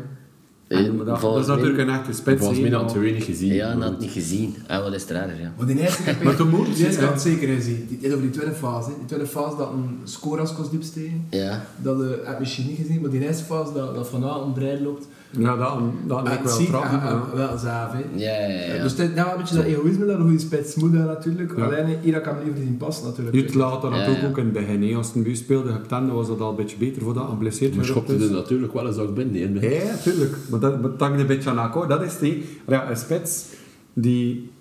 S4: En
S2: Eh,
S4: maar dat, dat
S2: volgens
S4: is natuurlijk
S2: mij-
S4: een echte spits.
S6: Volgens
S4: hè,
S6: mij
S4: maar-
S6: hadden we weinig gezien.
S2: Ja, en dat had niet gezien. En wat is er erger, ja.
S3: Maar die eerste keer...
S4: Maar toen moet-
S3: Die eerste keer had zeker gezien. Die, die over die tweede fase. hè. Die tweede fase dat een score als kost diep steken.
S2: Ja.
S3: Dat eh, heb je misschien niet gezien, maar die eerste fase dat, dat vanavond breid loopt. ah,
S4: Ja, dat, dat lijkt wel
S3: ziet,
S4: trappen.
S3: en- en-
S4: ja.
S3: en wel zaaf, hè.
S2: Ja, ja, ja.
S3: Dus dat, dat een beetje dat egoïsme dat een goede spits moet hebben, natuurlijk.
S4: Ja.
S3: Alleen eh, hier kan hem liever zien passen natuurlijk.
S4: Niet later, dat
S2: Ja,
S4: ook,
S2: ja.
S4: ook in het begin. hè. Als het een buurt speelde, op tanden was dat al een beetje beter voordat hij blesseerd
S6: Maar
S4: werd.
S6: schopte er natuurlijk wel een zak binnen hè, in het begin.
S4: Ja, natuurlijk. Maar dat, dat hangt een beetje aan akkoord. Dat is die. Ja, een spits die,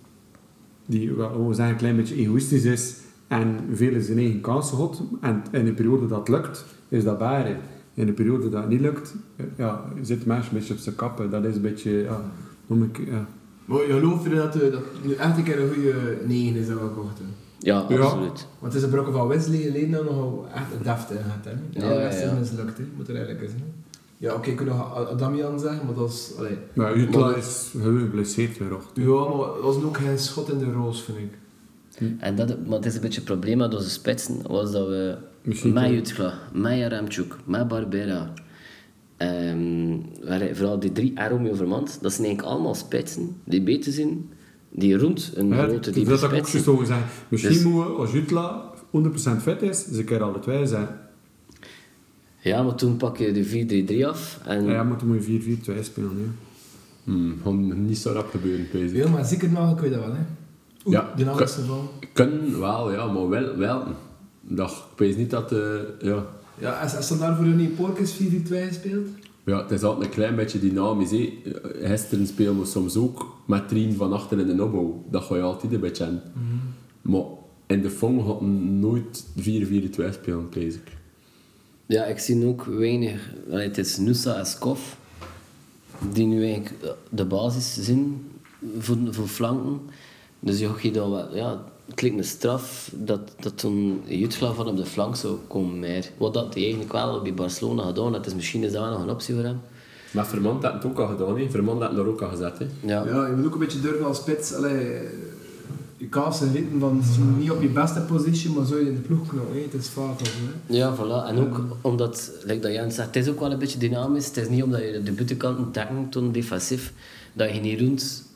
S4: die wel, laten we zeggen, een klein beetje egoïstisch is en vele zijn eigen kansen had. En in de periode dat lukt, is dat waar. In de periode dat niet lukt, ja, zit mensen een beetje op zijn kappen. Dat is een beetje, ja, noem ik, ja.
S3: Maar je gelooft erin dat, eh, dat nu echt een keer een goede 9 is dat we gekocht hebben.
S2: Ja,
S4: Ja.
S2: absoluut.
S3: Want het is een brokken van Wesley geleden dat nogal echt een daft in gaat. Hè?
S2: Ja,
S3: Ja, de rest
S2: ja, ja.
S3: is mislukt, hè? moet er eigenlijk eens. Hè? Ja, oké, ik kan nog Damian zeggen, maar dat is. Allee,
S4: Ja, Utla is gewoon geblesseerd weer. hoor.
S3: ja, maar dat was ook geen schot in de roos, vind ik.
S2: En dat, maar het is een beetje het probleem met onze spitsen, was dat we
S4: Misschien
S2: met
S4: wel.
S2: Jutgla, met Jaramchuk, met Barbera, ehm, waar- vooral die drie en Romeo Vermand, dat zijn eigenlijk allemaal spitsen die beter zijn, die rond een
S4: Ja,
S2: grote
S4: dus
S2: diepe
S4: dat had ik ook
S2: spits
S4: zo
S2: zijn.
S4: gezegd. Misschien
S2: Dus-
S4: moeten we, als Jutla 100% fit is, ze kunnen alle twee zijn.
S2: Hmm. Ja, maar toen pak je de 4-3-3 af en...
S4: Ja, maar dan moet je 4-4-2 spelen. Ja.
S6: Hmm, gewoon niet zo rap gebeuren, pees ik.
S3: Heel maar zeker nagel kun je dat wel, hè? Oeh,
S6: Ja.
S3: die nagel is ervan.
S6: Kunnen wel, ja, maar wel, wel. Dag, ik weet niet dat, eh, ja.
S3: Ja, als, als dan daar voor jou niet Porkes 4-2 speelt.
S6: Ja, het is altijd een klein beetje dynamisch. Hè. Gisteren spelen we soms ook met Trien van achter in de opbouw. Dat ga je altijd een beetje aan. Maar in de fong had men nooit 4-4-2 spelen, vrees ik.
S2: Ja, ik zie ook weinig. Allee, het is Nusa en Skof die nu eigenlijk eh, de basis zijn voor, voor flanken. Dus je je dan wel, ja, het klinkt een straf dat, dat toen Jutgla van op de flank zou komen. Meer. Wat dat hij eigenlijk wel bij Barcelona gedaan heeft, is misschien is dat wel nog een optie voor hem.
S6: Maar Vermand had het ook al gedaan, hè. Vermand had het er ook al gezet, hè.
S2: Ja.
S3: Ja, je moet ook een beetje durven als spits. Allee, eh, je kaas en ritten van misschien niet op je beste positie, maar zo in de ploeg knopen. hè. Het is vaak al zo. Hè.
S2: Ja, voilà. En ook omdat, like dat Jan zegt, het is ook wel een beetje dynamisch. Het is niet omdat je de buitenkanten dekken, toen defensief, dat je niet rond,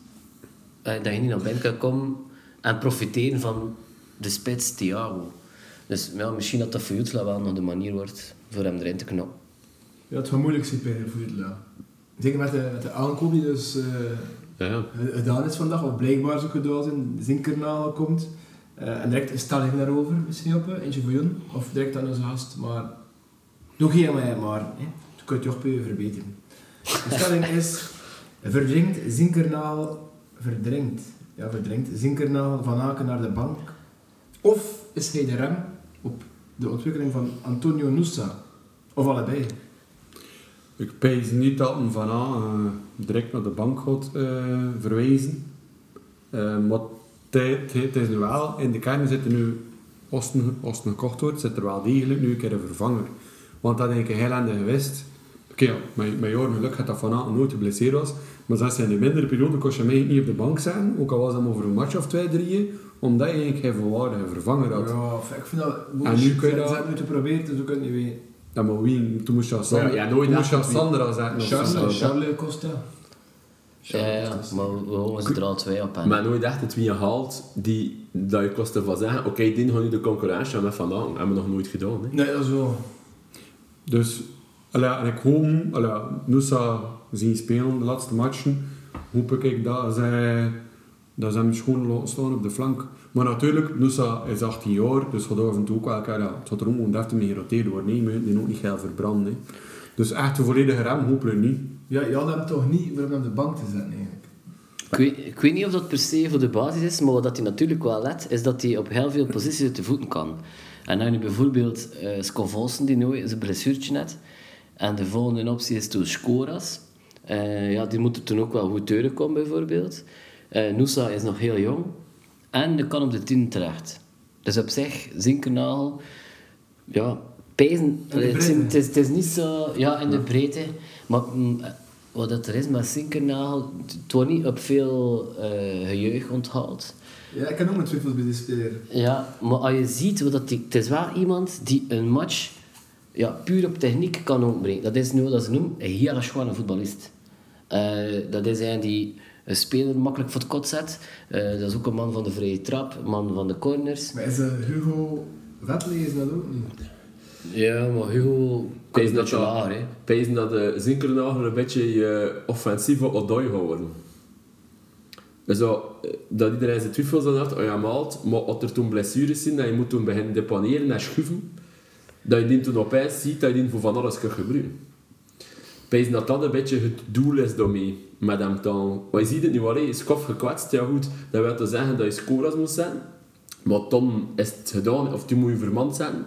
S2: eh, dat je niet naar binnen kan komen en profiteren van de spits Thiago. Dus ja, misschien dat dat voor Jutla wel nog de manier wordt voor hem erin te knoppen.
S3: Ja, het gaat moeilijk zijn bij voor Jutla. Zeker met de, met de aankoop die dus eh,
S6: Ja, ja.
S3: gedaan is vandaag, of blijkbaar zo gedaan zijn, Zinkernaal komt. Eh, en direct een stelling daarover misschien op, eh, eentje voor jou, of direct aan onze gast. Maar doe geen mij maar, hè. dan kun je toch bij je verbeteren. De stelling is, verdringt Zinkernaal, verdringt, ja verdringt Zinkernaal van Aken naar de bank? Of is hij de rem op de ontwikkeling van Antonio Nusa? Of allebei?
S4: Ik pees niet dat men van A eh, direct naar de bank gaat eh, verwijzen. Eh, maar het- het is nu wel, in de kern zit er nu, als het, als het gekocht wordt, zit er wel degelijk nu een keer een vervanger. Want dat denk ik heel aan de geweest. Oké, ja, met, met jaren geluk had dat van A nooit geblesseerd was. Maar zelfs in de mindere periode kon je mij niet op de bank zijn, ook al was dat maar voor een match of twee, drieën, omdat je eigenlijk geen volwaardige vervanger had.
S3: Ja, of- ik vind dat...
S4: En nu kun je
S3: Ze
S4: dat-
S3: hebben het geprobeerd, dus we kunnen niet weten.
S4: Ja, maar wie, toen moest je als
S6: Ja,
S4: Sander,
S6: ja, nooit
S4: toen moest je
S6: echt
S4: als
S6: wie.
S4: Sander al zetten. of zo.
S3: Charles, Charles Costa.
S2: Ja, ja, maar we we houden ze er al twee op. hè.
S6: Maar nooit echt het wie je haalt, die, dat je kost ervan zeggen, oké, die gaan nu de concurrentie aan met Van Aken. Hebben we nog nooit gedaan, hè.
S3: Nee, dat is wel.
S4: Dus, allee, en ik hoop, allee, Nusa zien spelen de laatste matchen, hoop ik dat zij, dat zij hem schoon laten staan op de flank. Maar natuurlijk, Nusa is 18 jaar, dus gaat af en toe ook wel, ja, het gaat er ook gewoon deftig mee geroteerd worden, nee, maar die ook niet geil verbranden. hè. Dus echt een volledige rem hopelijk niet.
S3: Ja, je had hem toch niet voor hem op de bank te zetten eigenlijk.
S2: Ik weet, ik weet niet of dat per se voor de basis is, maar wat hij natuurlijk wel let, is dat hij op heel veel posities uit de voeten kan. En dan heb je bijvoorbeeld eh Scovolsen, die nooit zijn blessuurtje net. En de volgende optie is toen Scoras. Eh, ja, die moet er toen ook wel goed deuren komen, bijvoorbeeld. Eh Noosa is nog heel jong. En die kan op de 10 terecht. Dus op zich, Zinkernagel... Ja, pijzen...
S3: de
S2: Het, zijn-
S3: breedte.
S2: het is, het is niet zo... Ja, in de breedte. Maar mm, wat dat er is met Zinkernagel... het- Het wordt niet op veel eh gejuich onthaald.
S3: Ja, ik kan ook mijn twijfels bij die speler.
S2: Ja, maar als je ziet, wat dat die, het is wel iemand die een match ja, puur op techniek kan ontbrengen. Dat is nu wat ze noemen een hele schone voetballist. Eh, dat is een die een speler makkelijk voor het kot zet. Eh, dat is ook een man van de vrije trap, een man van de corners.
S3: Maar is eh, Hugo Wetley is dat ook niet?
S2: Ja, maar Hugo komt een
S6: Pees
S2: beetje
S6: dat-
S2: lager. hè.
S6: Pees dat eh, de Zinkernagel een beetje je offensieve Odoi gaat worden. Zo, eh, dat iedereen zijn twijfels aan had, oh ja, maalt, maar als er toen blessures zijn, dat je moet toen beginnen depaneren en schuiven, dat je die toen opeens ziet, dat je die voor van alles kunt gebruiken. Pees dat dat een beetje het doel is daarmee, met hem dan. Want je ziet het nu wel, hè, is kof gekwetst, ja goed, dat wil te zeggen dat je scorers moet zijn, maar dan is het gedaan, of die moet je vermand zijn,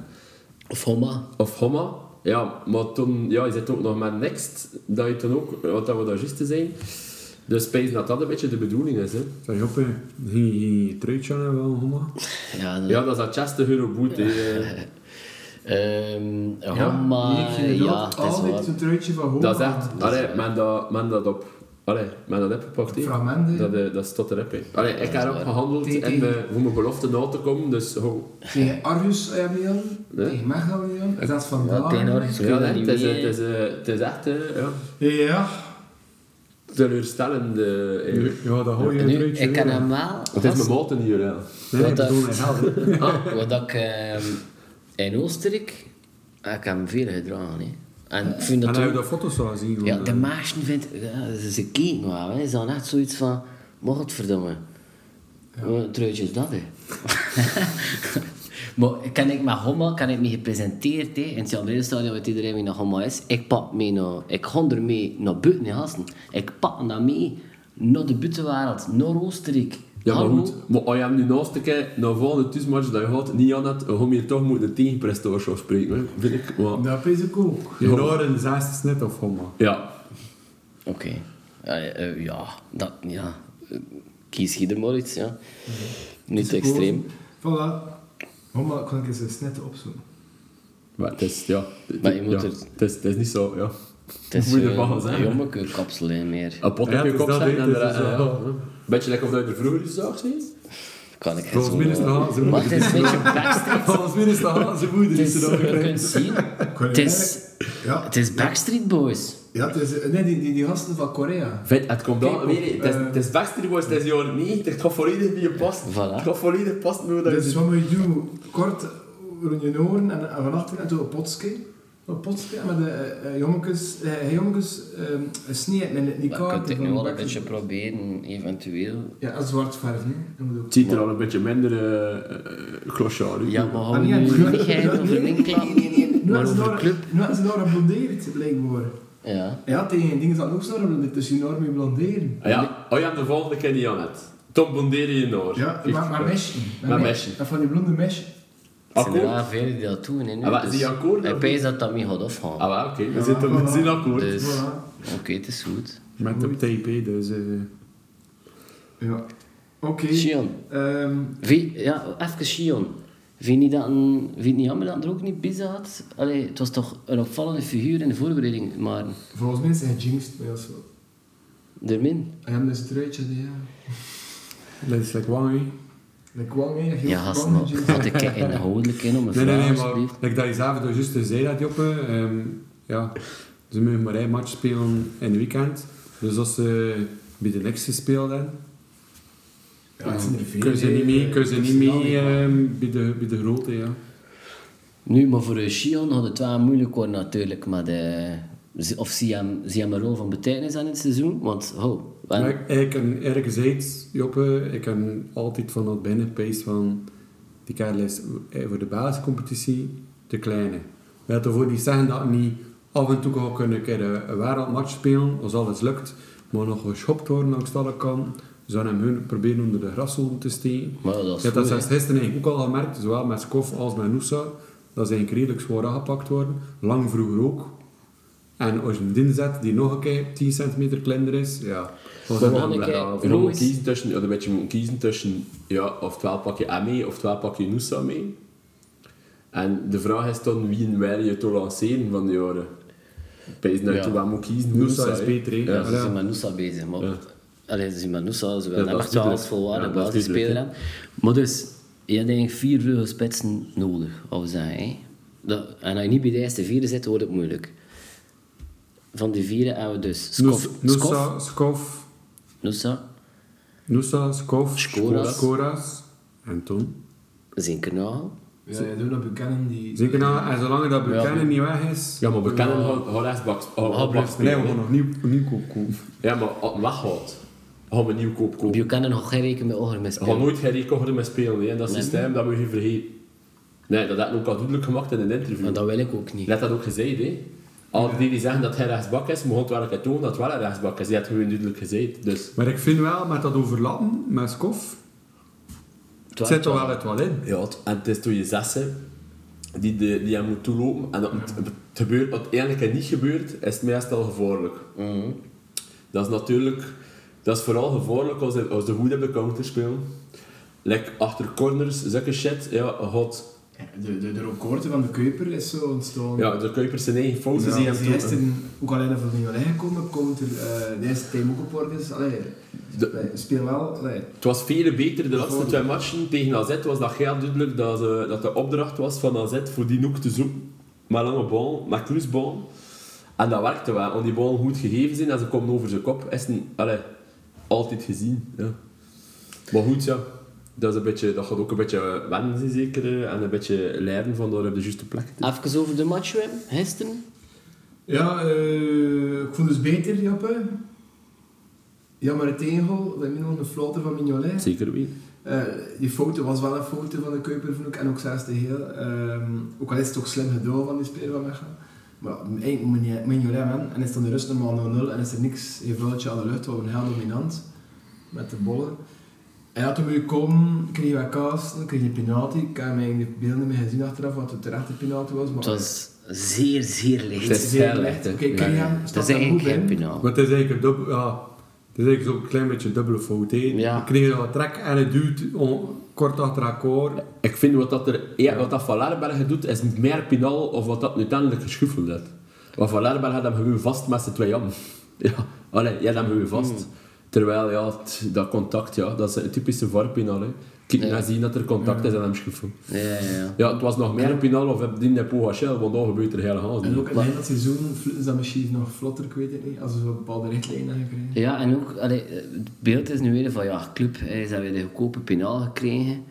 S2: Of Homa.
S6: of Homma. Ja, maar toen, ja, je zit ook nog met Next, dat je toen ook, wat dat we daar juist te zijn. Dus spijs dat dat een beetje de bedoeling is. Hè.
S4: Zeg, hoppe, ging je geen truitje aan hebben, Homa?
S2: Ja, dat-
S6: Ja, dat is dat 60 euro boete. eh. hè.
S2: Ehm, Homa, ja,
S3: Hier ging het
S2: ja,
S3: ook
S2: het is
S3: altijd
S2: waar.
S3: zo'n truitje van Hugo.
S6: Dat is echt, allee, men dat, men dat op Allee, maar dat heb je gepakt. hè.
S3: Fragmenten.
S6: Dat, eh, dat is tot de rep. hè. Allee, ik heb erop gehandeld
S3: Tegen-
S6: en eh hoe mijn belofte na te komen, dus ho.
S3: Tegen Argus heb je al,
S6: Nee.
S3: tegen Mechelen heb je al, zelfs van
S2: Ja, tegen Argus kun je
S6: Ja,
S2: dat
S6: hè,
S2: niet
S6: het, is, eh,
S2: mee,
S6: het, is, eh, het is echt eh, ja,
S3: Ja,
S6: teleurstellend. eh, eigenlijk.
S4: Ja, dat hoor je
S2: En nu,
S4: een beetje.
S2: ik kan hem wel...
S6: Het is mijn maat hier, ja.
S4: Nee, ik
S2: Wat dat-
S4: bedoel, hij helpt.
S2: Ah, wat ik ehm, in Oostenrijk... ah, Ik heb hem veel gedragen, hè. En ik vind
S4: En
S2: dat
S4: hij je
S2: ook...
S4: dat foto's zou zien.
S2: Ja,
S4: van,
S2: de
S4: eh,
S2: meisjes vindt... Ja, ze- ze kijken wel, hè. Ze zijn echt zoiets van... Mag het verdomme. Ja. Truitje is dat, hè. maar kan ik met Homma, kan ik me gepresenteerd, hè. In het Jan stadion weet iedereen wie naar Homma is. Ik pak mee naar... Ik ga ermee naar buiten, hè, gasten. Ik pak dat mee naar de buitenwereld, naar Oostenrijk.
S6: Ja, maar
S2: Hallo.
S6: goed. Maar als je hem nu naast te kijken, na volgende thuismatch dat je had, niet aan hebt, dan ga je hier toch moeten tegen Prestoorschap spreken, hè, vind ik. Maar,
S3: dat is ik ook.
S4: Je hoort een zesde snit of homo.
S6: ja.
S2: Oké. Eh, eh, ja, dat... Ja. Eh, Kies je er maar iets, ja. Niet te extreem.
S3: Voilà. Mama, kan ik eens een snet opzoeken?
S6: Maar het is, ja... het-
S2: Maar je moet
S6: ja,
S2: er-
S6: Het is, het is niet zo, ja.
S2: Het is
S6: Moet je
S2: eh,
S6: ervan zeggen.
S2: een jommekapsel, hè, meer.
S6: Een pot
S4: Ja,
S6: op je
S4: het is
S6: kop
S4: dat,
S6: zetten
S4: hè,
S6: en
S4: het
S6: de
S4: is
S6: rest...
S4: zo.
S6: ja, ja. Beetje lekker of dat je er vroeger eens zag, zie
S2: Kan ik geen
S4: Volgens mij is het
S2: zo...
S4: Haanse
S2: Maar het
S4: moeder.
S2: is een beetje Backstreet.
S4: Volgens mij is de Haanse
S2: Het
S4: moeder die ze
S2: is,
S4: dan
S2: je
S4: krijgt.
S2: kunt zien, het is,
S3: Ja,
S2: het is Backstreet Boys.
S3: ja het is, nee, die, die, die gasten van Korea.
S6: Vet, het komt
S3: Kijk,
S6: aan, weet je, het is,
S3: eh,
S6: het is Backstreet Boys, het is jaren 90, het gaat volledig niet past.
S2: Voilà.
S6: Het gaat volledig past met hoe dat je...
S3: Dus wat moet je doen? Kort rond je oren en, en van achter en toen een potske. Een potske en met de eh, eh, jongetjes, eh, jongetjes ehm, sneeuw in die
S2: Maar je kunt
S3: kaarten
S2: het
S3: van
S2: nu wel een
S3: Backstreet-
S2: beetje proberen, eventueel.
S3: Ja, en zwart verf, hè. Dat moet ook.
S6: Het ziet er al een beetje minder
S4: eh,
S6: uh, glossiaal uit.
S2: Ja, maar
S3: Ah,
S2: hou
S3: nee,
S2: je nu
S3: nee,
S2: niet
S3: nee,
S2: geheim over
S3: nee,
S2: mijn
S3: nee, nee, nee, nee. Nu
S2: Maar
S3: hebben ze
S2: over
S3: daar-
S2: club?
S3: Nu hebben ze daar geblondeerd, blijkbaar.
S2: Ja.
S3: Ja, tegen dingen dat ook zo geblondeerd, dus je norm mee blonderen.
S6: Ah, ja, oh ja, de volgende ken je aan het. Tom Bonderi in Noor.
S3: Ja, maar, maar mesje.
S6: Maar mesje.
S3: En van die blonde mesje.
S2: Het zijn
S6: Akkoord?
S2: er wel veel die dat doen. hè, nu,
S6: Ah, maar is
S2: dus
S6: die akkoord,
S2: Ik
S6: of
S2: pees dat dat mee gaat afgaan.
S6: Ah, wel, oké. We
S3: Ja,
S6: zitten met
S3: voilà.
S6: zin akkoord.
S2: dus, oké,
S3: Voilà.
S2: het is goed.
S4: Met op TP, dus... eh,
S3: Ja. Oké.
S2: Shion.
S3: Ehm,
S2: Wie, ja, even Shion. Vind je dat een, vind je het niet jammer dat hij er ook niet bij zat? Allee, het was toch een opvallende figuur in de voorbereiding, maar
S3: volgens mij is hij jinxed bij ons wel.
S2: de min.
S3: Hij heeft een struitje, die ja.
S4: Dat is like wang, hè.
S3: Like Wang, hè. Heel
S2: Ja,
S3: veel
S2: gasten,
S3: Wang
S2: wat ik
S3: jinxed.
S2: inhoudelijk in om een
S4: Nee, nee,
S2: vraag,
S4: nee, maar
S2: alsjeblieft.
S4: like dat je zelf dus juist zei dat Joppe, ehm, ja, ze mogen maar één match spelen in het weekend. Dus als ze bij de next spelen, dan
S3: Ja, het zijn er veel,
S4: kunnen ze
S3: hè.
S4: niet mee, kunnen ze
S3: Het is
S4: niet
S3: snel,
S4: mee
S3: hè.
S4: ehm, bij, de, bij de grote, ja.
S2: Nu, maar voor eh, Shion had het wel moeilijk worden natuurlijk met de... Of Siam, Siam een rol van betekenis aan het seizoen, want ho, wel-
S4: Maar ik, ik heb ergens Joppe, ik heb altijd van dat binnenpees van die kerel is eh, voor de basiscompetitie te kleine. We hadden voor die zeggen dat niet af en toe kan ik een keer een een wereldmatch spelen, als alles lukt, maar nog geschopt worden langs alle kanten. Ze zouden hem hun proberen onder de graszoden te steken.
S2: Maar dat is
S4: Je hebt dat
S2: goed,
S4: zelfs gisteren eigenlijk ook al gemerkt, zowel met Skof als met Noosa, dat ze eigenlijk redelijk zwaar aangepakt worden. Lang vroeger ook. En als je een din zet die nog een keer 10 centimeter kleiner is, ja.
S2: Maar
S4: was dat
S2: nog
S4: dan
S2: een
S4: wel
S2: keer,
S4: raar.
S6: Je moet
S2: Roos.
S6: kiezen tussen, ja, een beetje moet kiezen tussen, ja, oftewel pak je hem mee, oftewel pak je Noosa mee. En de vraag is dan, wie wil je te lanceren van de jaren? Pees nou,
S2: Ja.
S6: je wel moet kiezen,
S4: Noosa
S6: Noosa,
S4: is
S6: hè.
S4: beter, hè.
S2: ja, ze
S4: Ja.
S2: zijn met Noosa bezig, maar... Allee, ze zijn met Noosa, ze
S6: Ja,
S2: willen
S6: dat
S2: hem
S6: is
S2: echt wel als
S6: duidelijk.
S2: volwaardig
S6: Ja, dat is
S2: basisspeler hebben. Maar dus, je hebt eigenlijk vier vleugels spitsen nodig, of zijn, hè. Dat, en als je niet bij de eerste vier zit, wordt het moeilijk. Van die vieren hebben we dus Skof,
S4: Noes-
S2: Skof,
S4: Noosa, Skof,
S2: Noosa,
S4: Noosa, Skof,
S2: Skoras.
S4: Skoras. En toen?
S2: Zinkernaal.
S3: Ja, je doet dat Buchanan die...
S4: Zeker na, en zolang dat
S2: Ja.
S4: Buchanan niet weg is...
S6: Ja, maar we kennen gewoon gewoon rechtsbaks. oh,
S2: gaan
S6: backs-
S4: Nee, we gaan nog nieuw, nieuw kopen.
S6: Ja, maar als het weghoudt, gaan we een nieuw koop kopen.
S2: Buchanan nog geen rekening met Ogermis
S6: We gaan
S2: spelen.
S6: nooit geen record mee spelen, hè. dat systeem dat we je vergeten. Nee, dat had ik ook al duidelijk gemaakt in een interview.
S2: Maar dat wil ik ook niet.
S6: Je hebt dat ook gezegd, hè? Al die die zeggen dat hij rechtsbak is, mogen het wel een keer tonen dat het wel een rechtsbak is. Die had gewoon duidelijk gezegd. Dus
S4: Maar ik vind wel, met dat overlappen, met Skof,
S2: Twa-
S4: zit er wel het wel in.
S6: ja, het- en het is toen je zessen die, de, die hem moet toelopen. En dat het, het gebeurt, wat eigenlijk niet gebeurt, is het meestal gevaarlijk. Dat is natuurlijk, dat is vooral gevaarlijk als, de- als de goede op de counter spelen. Like achter corners, zulke shit, ja, je gaat
S3: De, de, de record van de Kuiper is zo ontstaan.
S6: Ja, de Kuiper zijn eigen fouten
S3: Dus
S6: zijn
S3: die
S6: hem
S3: is
S6: toe-
S3: eerst in, ook alleen even nieuw gekomen, komt er eh, de eerste time ook op orde is. Allee,
S6: De-
S3: wij spelen wel. Allee,
S6: Het was veel beter de laatste twee matchen. Tegen AZ was dat heel duidelijk dat, ze, dat de opdracht was van AZ voor die hoek te zoeken. Met lange bal, met kruisbal. En dat werkte wel. Om die bal goed gegeven zijn en ze komen over zijn kop. Is een, allee, altijd gezien. Ja. Maar goed, ja. Dat, is een beetje, dat gaat ook een beetje wennen zijn zeker. eh, En een beetje leren van daar op de juiste plek te
S2: Even over de match, Wim. Gisteren.
S3: Ja, eh, ik vond dus beter, Jappe. Jammer het tegel, dat min de floten van Mignolet.
S6: Zeker weten.
S3: Eh, die foto was wel een foto van de Kuiper van ook, en ook zelfs de heel. Ehm, ook al is het ook slim gedaan van die speler van Mechelen. Maar eigenlijk moet je- moet je niet hebben. En is dan de rust normaal 0-0 en is er niks. Je vuiltje aan de lucht, we waren heel dominant. Met de bollen. Hij had hem gekomen, kreeg wat kaas, kreeg een penalty. Ik heb hem eigenlijk de beelden niet meer gezien achteraf, wat het terecht een penalty was. Maar
S2: Het was zeer, zeer licht.
S6: Het is heel licht, hè.
S3: Oké, ik
S6: Ja,
S3: kreeg
S6: ja.
S3: hem,
S2: Dat
S3: stond
S2: is
S3: hem goed
S2: eigenlijk
S3: in.
S2: geen penaal.
S4: Maar het is eigenlijk, een dubbel, ja, het is eigenlijk zo'n klein beetje dubbele fout. hè.
S2: Ja.
S4: Je kreeg een trek en het duwt on- kort achter elkaar.
S6: Ik vind wat dat, er, ja, wat dat Van Laarbergen doet, is niet meer pinaal of wat dat uiteindelijk geschuffeld heeft. Want Van Laarbergen had hem gewoon vast met zijn twee jam. Ja, allee, jij had hem gewoon vast. Terwijl, ja, t- dat contact, ja, dat is een typische VAR-pinaal. hè. Kijk
S2: Ja.
S6: naar zien dat er contact is en hem schuffelt.
S2: Ja, ja, ja.
S6: Ja, het was nog meer pinaal of heb die de Pogachel, want dan gebeurt er helemaal
S3: En
S6: niet.
S3: ook in het hele seizoen is dat misschien nog vlotter, ik weet het niet. Als we zo'n bepaalde richtlijnen hebben gekregen.
S2: Ja, en ook, allee, het beeld is nu weer van, ja, club, hij is weer de goedkope penaal gekregen.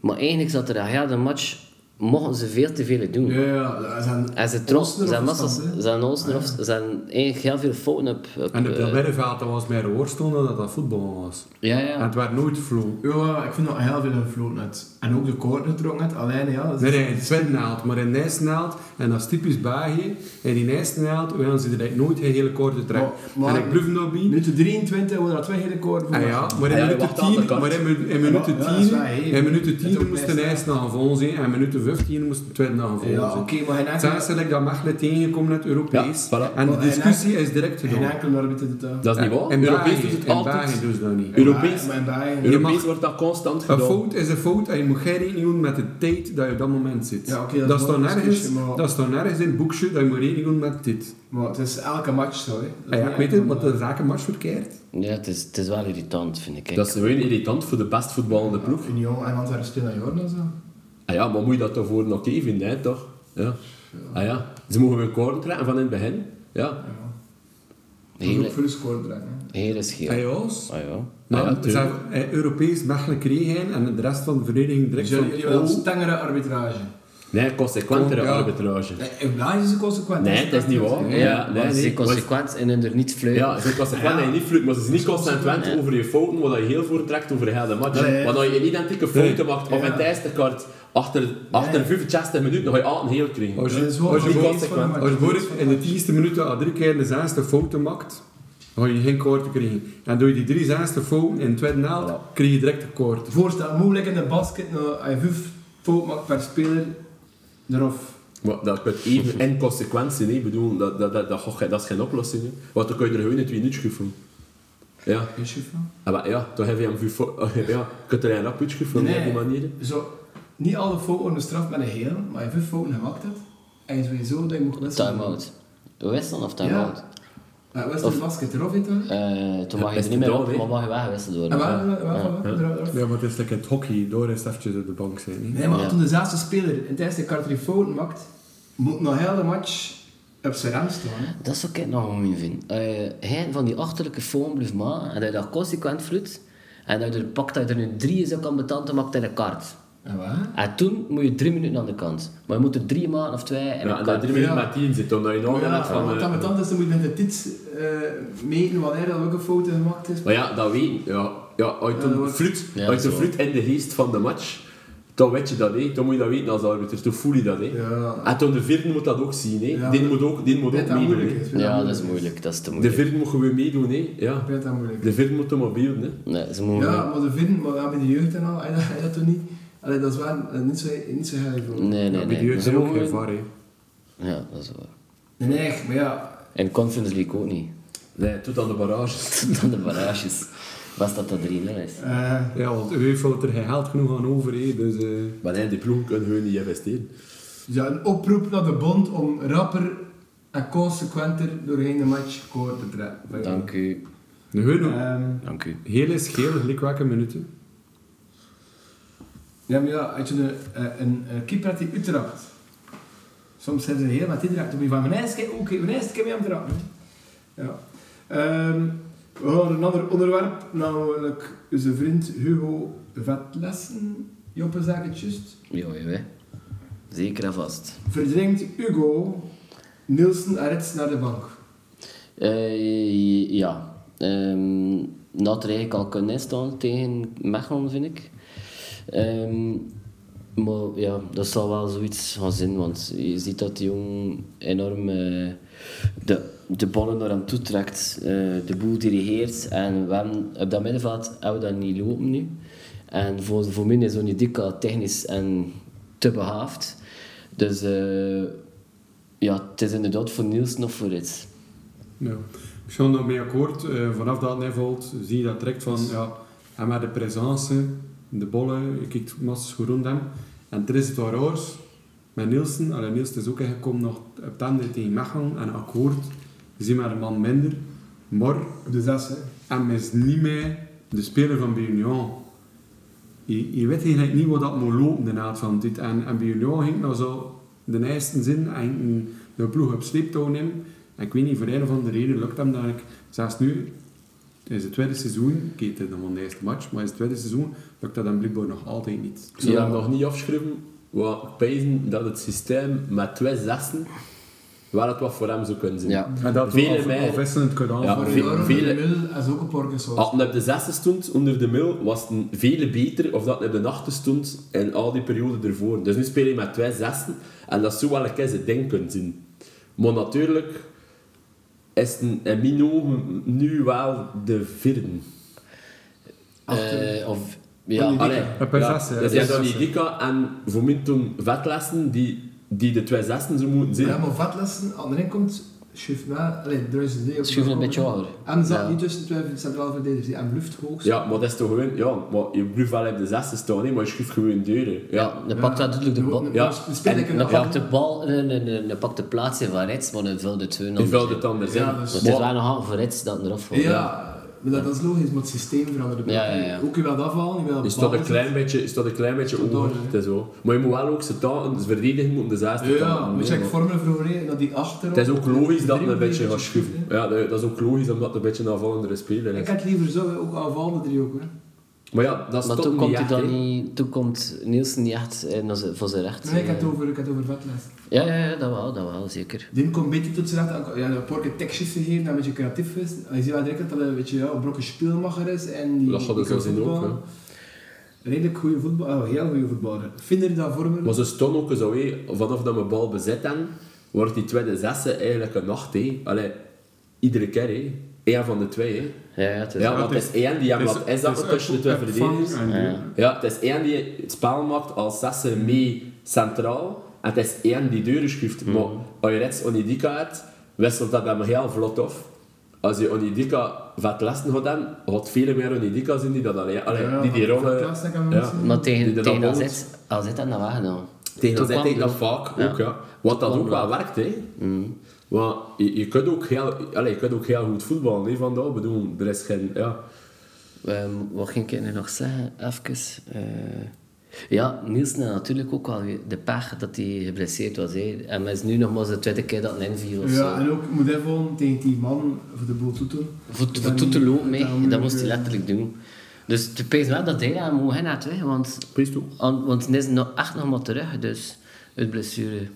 S2: Maar eigenlijk zat er een hele match, mochten ze veel te veel doen.
S3: Ja, ja, ja. Zijn,
S2: En ze trots,
S3: Olsner
S2: zijn
S3: of was
S2: massas,
S3: dat, hè?
S2: zijn Olsner of, zijn eigenlijk heel veel fouten op. op,
S4: En
S2: eh,
S4: op dat middenveld dat was meer worstelen dan dat dat voetbal was.
S2: ja,
S4: En
S2: ja.
S4: het werd nooit vloog.
S3: Ja, ik vind dat heel veel gefloten uit. En ook de koorden getrokken uit. Alleen, ja. dat is-
S4: Nee, nee, in Twentnaald, maar in Nijsnaald, en dat is typisch België, en in Nijsnaald willen ze er eigenlijk nooit een hele korte trek.
S3: Maar- maar-
S4: En ik blijf nog bij.
S3: Minuten 23 worden er twee hele koorden voor.
S4: En Ah, ja, maar in
S6: Ja, je
S4: minuut
S6: wacht aan de
S4: 10,
S6: kant.
S4: maar in, minu- in
S3: Ja,
S4: minuten
S3: ja, dat is
S4: 10,
S3: waar, hè.
S4: in minuten
S3: Het is
S4: 10
S3: ook
S4: moesten
S3: best, hè.
S4: Nijsnaald vol zijn, en in minuten 15 moesten Twentnaald vol
S3: Ja, oké,
S4: zijn.
S3: maar geen
S4: Het
S3: enkel,
S4: is eigenlijk dat Mechelen tegengekomen uit Europees.
S6: Ja, voilà.
S4: En de
S3: Maar en-
S4: discussie is direct
S3: geen
S4: gedaan.
S3: enkel arbiter doet dat.
S6: Dat is niet waar.
S4: In
S6: Europees
S4: België,
S6: doet het
S4: in België
S6: altijd.
S4: doen ze dat niet.
S6: Europees,
S3: Mijn bijen.
S4: Je
S6: Europees
S4: mag-
S6: wordt dat constant
S4: Een
S6: gedaan.
S4: fout is een fout en je moet geen rekening houden met de tijd dat je op dat moment zit.
S3: Ja, oké, dat
S4: dat,
S3: is
S4: staat
S3: wel een
S4: nergens,
S3: discussie, maar-
S4: dat staat nergens in het boekje dat je moet rekening houden met dit.
S3: Maar het is elke match zo, hè. Dat
S4: Ah ja,
S3: is
S4: ik weet het,
S3: niet
S4: want de zakenmars verkeerd.
S2: Ja, het is, het is wel irritant, vind ik.
S6: Dat is gewoon irritant voor de best voetballende ploeg.
S3: Union en Antwerpen spelen naar Jordan zo.
S6: Ah ja, maar moet je dat toch voor een oké vinden, hè, toch? Ja. Ah ja, ze mogen hun koren trekken van in het begin. Ja.
S3: Dat is ook
S2: Hele,
S3: voor de score trekken, hè.
S2: hele scheel.
S4: Hey,
S2: Ah,
S4: Jos.
S2: ja.
S4: Maar
S6: Ah ja,
S4: ze hebben eh, Europees Mechelen kregen en de rest van de vereniging direct
S3: Dus
S4: van...
S3: jullie jullie willen een
S4: oh,
S3: strengere arbitrage.
S6: Nee, consequentere
S4: Kom, ja.
S6: arbitrage.
S3: Nee, in België is het consequent.
S6: Nee, dat is niet waar.
S2: Ja,
S6: Ja, nee,
S2: maar ze
S6: nee.
S2: zijn consequent en hun er niet vleugel.
S6: Ja, ze is consequent en niet vloeit, maar ze is niet consequent over je fouten, wat je heel voortrekt over heel de match.
S3: Nee.
S6: Want als je een identieke fouten maakt, of
S3: Ja.
S6: een tijdste kaart, achter, achter 65 minuten, dan ga je altijd een heel krijgen.
S4: Als je,
S3: Dat is wel
S4: als je
S3: een
S4: voor-
S3: iets van een match.
S4: als je voor het- in de tienste minuut al drie keer de zesde fouten maakt, dan ga je geen korte krijgen. En doe je die drie zesde fouten in het tweede naald, krijg je direct een korte.
S3: Voorstel, moeilijk in de basket, nou, als je vijf fout maakt per speler, eraf.
S6: Maar dat kan even inconsequent zijn, hè. Ik bedoel, dat, dat, dat, dat, gaat geen- dat is geen oplossing. hè. Want dan kun je er gewoon in twee niet schuffen. Ja.
S3: Weet je van?
S6: Ah, maar ja, toen heb je hem voor... oh, Ja, ik heb er een rap uitgevoerd
S3: Nee.
S6: op die manier.
S3: Zo, niet alle fouten worden bestraft met een heel, maar je vijf fouten gemaakt hebt, en je sowieso dat je moet wisselen.
S2: Time-out. Wisselen of time-out?
S3: Ja. Ja, was de basket eraf, weet je wel? Ah,
S2: Eh, toen mag je er
S6: beste
S2: niet meer
S6: doel,
S2: op,
S6: hè.
S2: maar mag je weggewisseld worden.
S3: En
S2: ja.
S3: waar, waar, waar, waar, eraf?
S4: Ja, maar het is lekker het hockey, door is het eventjes op de bank zijn. hè.
S3: Nee, maar
S2: Ja.
S3: toen de zesde speler in het eerste kwart drie fouten maakt, moet nog heel de match op zijn rem staan. hè.
S2: Dat zou ik nog mooi vinden. Eh, hij van die achterlijke foam blijft maken en dat je dat consequent vloeit. En dat je er pakt dat je er nu drie is ook aan betanden maakt in de kaart.
S3: En waar?
S2: En toen moet je drie minuten aan de kant. Maar je moet er drie maken of twee en
S6: Ja,
S2: ja,
S6: en dat drie minuten
S3: Ja.
S6: met tien zit, omdat je nog
S3: Ja,
S6: net van...
S3: want
S6: eh,
S3: dan met tanden, ze moeten met de tit eh, meten wanneer er ook een fout gemaakt is.
S6: Maar ja, dat weten. Ja, ja uit
S3: Ja, dat
S6: een
S3: wordt-
S6: fluit,
S2: Ja,
S6: uit een
S2: zo.
S6: fluit in de geest van de match, dan weet je dat, hè. Dan moet je dat weten als arbiter. Toen voel je dat, hè.
S3: Ja.
S6: En toen de vierde moet dat ook zien, hè.
S3: Ja,
S6: dit
S3: maar-
S6: moet ook, dit moet ook
S3: Weet dat
S6: meedoen,
S3: moeilijk
S6: hè.
S3: is.
S2: ja, dat is moeilijk. Dat is te
S6: De
S2: moeilijk.
S6: vierde moet gewoon meedoen, hè. Ja.
S3: Ik weet dat moeilijk.
S6: De vierde moet hem op beelden, hè.
S2: Nee, ze moeten...
S3: Ja, maar de vinden, maar ja, bij de jeugd en al, hij dat, hij dat toch niet. Allee, dat is wel eh, niet zo, niet zo heilig voor.
S2: Nee, nee,
S4: Ja, bij
S2: nee.
S4: de jeugd
S2: Ze
S4: zijn ook
S2: mogen-
S4: geen var, hè.
S2: Ja, dat is waar.
S3: Nee, nee, echt, maar ja.
S2: En Conference League ook niet.
S3: Ja,
S6: Nee, tot aan de barrages.
S2: Dan de barrages. Was dat dat 3-0 is?
S3: Eh,
S4: Ja, want u heeft er geen geld genoeg aan over, hè, dus... eh,
S6: Maar nee, die ploegen kunnen hun niet investeren.
S3: ja, een oproep naar de bond om rapper en consequenter doorheen de match score te trekken.
S2: Dank u.
S4: nu hun
S3: Ehm,
S2: Dank u.
S4: Heel is geel, gelijk welke minuten.
S3: ja, maar ja, als je een, eh, een, een keeper hebt die uitrapt, soms zijn ze heel wat indrapt op je van, mijn eerste keer ook, mijn eerste keer mee aan het rappen. Ja. Ehm, we gaan naar een ander onderwerp, namelijk onze vriend Hugo Vetlessen, Joppe zegt het juist.
S2: Jo, jo, hè. Zeker en vast.
S3: verdringt Hugo Nielsen en Rits naar de bank.
S2: Eh, ja. Ehm dat er eigenlijk al kunnen staan tegen Mechelen, vind ik. Ehm, maar ja, dat zal wel zoiets gaan zijn, want je ziet dat die jongen enorm eh, de, de ballen naar hem toe trekt, eh, de boel dirigeert. En we hebben, op dat middenveld hebben we dat niet lopen nu. En voor, voor mij is Onidika eh, technisch en te behaafd. Dus eh, ja, het is inderdaad voor Nielsen of voor Rits.
S4: Ja. Ik ga daarmee akkoord. Eh, vanaf dat hij valt, zie je dat direct van... Ja, hij met de presence, de bollen, je kijkt massas goed rond hem. En er is het waar oors. Met Nielsen, allee, Nielsen is ook ingekomen nog op het einde tegen Mechelen. En akkoord, je ziet maar een man minder. Maar
S3: Op de zes, hè.
S4: hem is niet meer de speler van Union. Je, je weet eigenlijk niet wat dat moet lopen de naad van dit. En, en bij Union ging nou zo de eerste zin en een- de ploeg op sleeptouw nemen. En ik weet niet, voor een of andere reden lukt hem dat ik zelfs nu, het is het tweede seizoen, oké, het is nog maar de eerste match, maar het is het tweede seizoen, lukt dat hem blijkbaar nog altijd niet.
S6: Ik zou
S2: Ja.
S6: hem nog niet afschrijven, want ik peizen dat het systeem met twee zessen wel het wat voor hem zou kunnen zijn.
S2: Ja.
S4: En dat we
S6: Vele
S4: af-
S6: mij-
S4: afwisselend kunnen
S6: Ja,
S4: aanvallen.
S6: ve-
S3: Voor
S6: vele- Ah,
S3: de Mil is ook een Parkinson.
S6: Als het op de zesde stond, onder de mil, was het een vele beter of dat het op de achtste stond in al die periode ervoor. Dus nu speel je met twee zessen en dat zou wel een keer zijn ding kunnen zien. Maar natuurlijk is het een- in mijn ogen nu wel de vierde.
S2: Eh, of, ja,
S4: Van die
S2: allee,
S4: Een per zes, hè.
S6: dat
S4: Ja,
S6: zijn dan
S4: zes,
S6: die
S4: hè.
S6: Dika en voor mij toen vetlessen die, die de twee zessen zou moeten zijn.
S3: Ja, maar Vetlessen, aan de ene komt schuift na, allee, er is een idee op de
S2: Schuift een
S3: voorkant.
S2: beetje hoger.
S3: En zat
S2: Ja.
S3: niet tussen twee centraal verdedigers, die- en bluft hoog.
S6: Ja, maar dat is toch gewoon... Ja, maar je blijft wel op de zesde staan, hè, maar je schuift gewoon deuren. Ja.
S2: dan pakt dat natuurlijk de bal.
S6: Ja.
S3: Ja, dan speel ik
S2: en
S3: een
S2: dan pakt
S3: hand.
S2: de bal, nee, nee, nee, dan pakt de plaats in van Rits, maar dan vult het hun
S6: Je
S2: anders
S6: vult
S2: in.
S6: het anders
S3: Ja,
S6: in.
S3: dus-
S2: Want
S6: Maar-
S2: het is wel nog hard voor Rits dat eraf valt.
S3: Ja, maar dat, dat is logisch, maar het systeem verandert.
S2: Ja, ja, ja.
S3: Ook je wilt afhalen, je wilt
S6: Je staat een klein beetje, je staat een klein beetje
S3: Tot
S6: over.
S3: daar, hè.
S6: Het is zo. Maar je moet wel ook ze taal, ze verdedigen moeten de zesde taal
S3: Ja,
S6: doen,
S3: moet
S6: hè,
S3: je
S6: maar-
S3: vormen vroeger, dat die achter.
S6: Het is ook logisch dat het een beetje gaat
S3: schuiven.
S6: schuiven. Ja, dat dat is ook logisch omdat het een beetje een aanvallendere speler
S3: Ik
S6: is.
S3: had liever zo hè, ook aanvallende driehoek. hè.
S6: Maar ja, dat is
S2: Maar
S6: toch
S2: toen
S6: niet
S2: komt, hij
S6: echt,
S2: dan
S6: hè.
S2: niet, toen komt Nielsen niet echt in als- voor zijn recht.
S3: Nee, ik had het over, ik had het over Vetlessen.
S2: Ja, ja, ja, dat wel, dat wel, zeker.
S3: Dit komt beter tot z'n recht. Ja, een paar keer tekstjes gegeven, dat een beetje creatief is. En je ziet wel direct dat hij een beetje ja, een brokje speelmacher is. En die,
S6: Dat gaat er
S3: die
S6: zo
S3: kan
S6: zien ook,
S3: voetballen. Redelijk goede voetbal, oh, heel goede voetballer. Vinder dat voor me.
S6: Maar ze stond ook zo, hé, vanaf dat we bal bezit hebben, wordt die tweede zesse eigenlijk een nacht. Hé. Allee, iedere keer. Hé. Eén van de twee. Hé.
S2: Ja, ja, het is
S6: Ja, want het is één die hem
S4: Het
S6: laat inzakken
S4: het
S6: tussen de twee
S4: het vangt
S6: verdedigers.
S4: en duwen.
S6: Ja, het is één die het spel maakt als zesse mee centraal. En het is één die deuren schuift. Maar als je rechts Onidika hebt, wisselt dat hem heel vlot af. Als je Onidika vet lessen gaat hebben, gaat veel meer Onidika zien die dat alleen... allee,
S3: Ja,
S6: die die
S3: van
S6: rollen...
S3: Klaassen kan
S6: ja.
S3: mensen.
S2: Maar
S6: Die
S2: tegen,
S6: dat
S2: tegen
S6: balt.
S2: AZ, AZ had dat wel gedaan.
S6: Tegen
S2: Toen
S6: AZ
S2: kwam
S6: denk ik dat vaak ook, ja. Mm. Wat dat ook wel werkt, hè. Want je, je, kunt ook heel, allee, je kunt ook heel goed voetballen, hè, vandaag. Ik bedoel, er is geen... Ja.
S2: Ehm, wat ging ik nu nog zeggen? Even. eh, ja, Nielsen had natuurlijk ook wel weer de pech dat hij geblesseerd was. hè. En hij is nu nog maar de tweede keer dat hij inviel. of zo.
S3: Ja, en ook moet even tegen die man voor de boel toe doen.
S2: Voor, voor
S3: Dan-
S2: toe te lopen, hè.
S3: dan moet
S2: dat
S3: ik,
S2: moest hij
S3: eh,
S2: letterlijk doen. Dus het pees wel dat hij daar moet gaan naar weg, want,
S6: Pees toe.
S2: an- want hij is nog echt nog maar terug, dus uit blessure.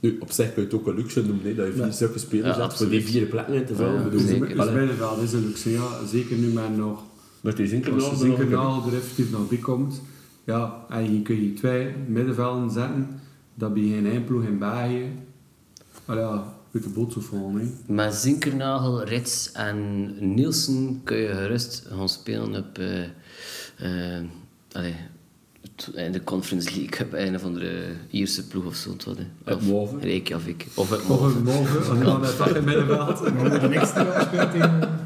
S6: Nu, op zich kun je het ook een luxe noemen, hè, dat je vier zulke spelers
S2: Ja,
S6: hebt voor die vier plekken in te vullen. Ik bedoel,
S4: Dus
S2: Zeker.
S4: het middenveld is een luxe, ja. Zeker nu met nog...
S6: Met die
S4: Als je
S6: zinkernaal
S4: zeker na er effectief nog bij komt, ja, en hier kun je twee middenvelden zetten, dat bij geen eindploeg in België, maar ja, uit de boot zou vallen. hè.
S2: Met Zinkernagel, Rits en Nielsen kun je gerust gaan spelen op eh, eh, allee, t- in de Conference League Cup een of andere Ierse ploeg of zo. het was, hè.
S6: Uit
S2: Of
S6: Moven.
S2: Reykjavik. Of eh, uit
S4: Of
S2: Moven.
S4: een mogen, aan de andere kant in het middenveld.
S3: Maar we de niks te gespeeld tegen...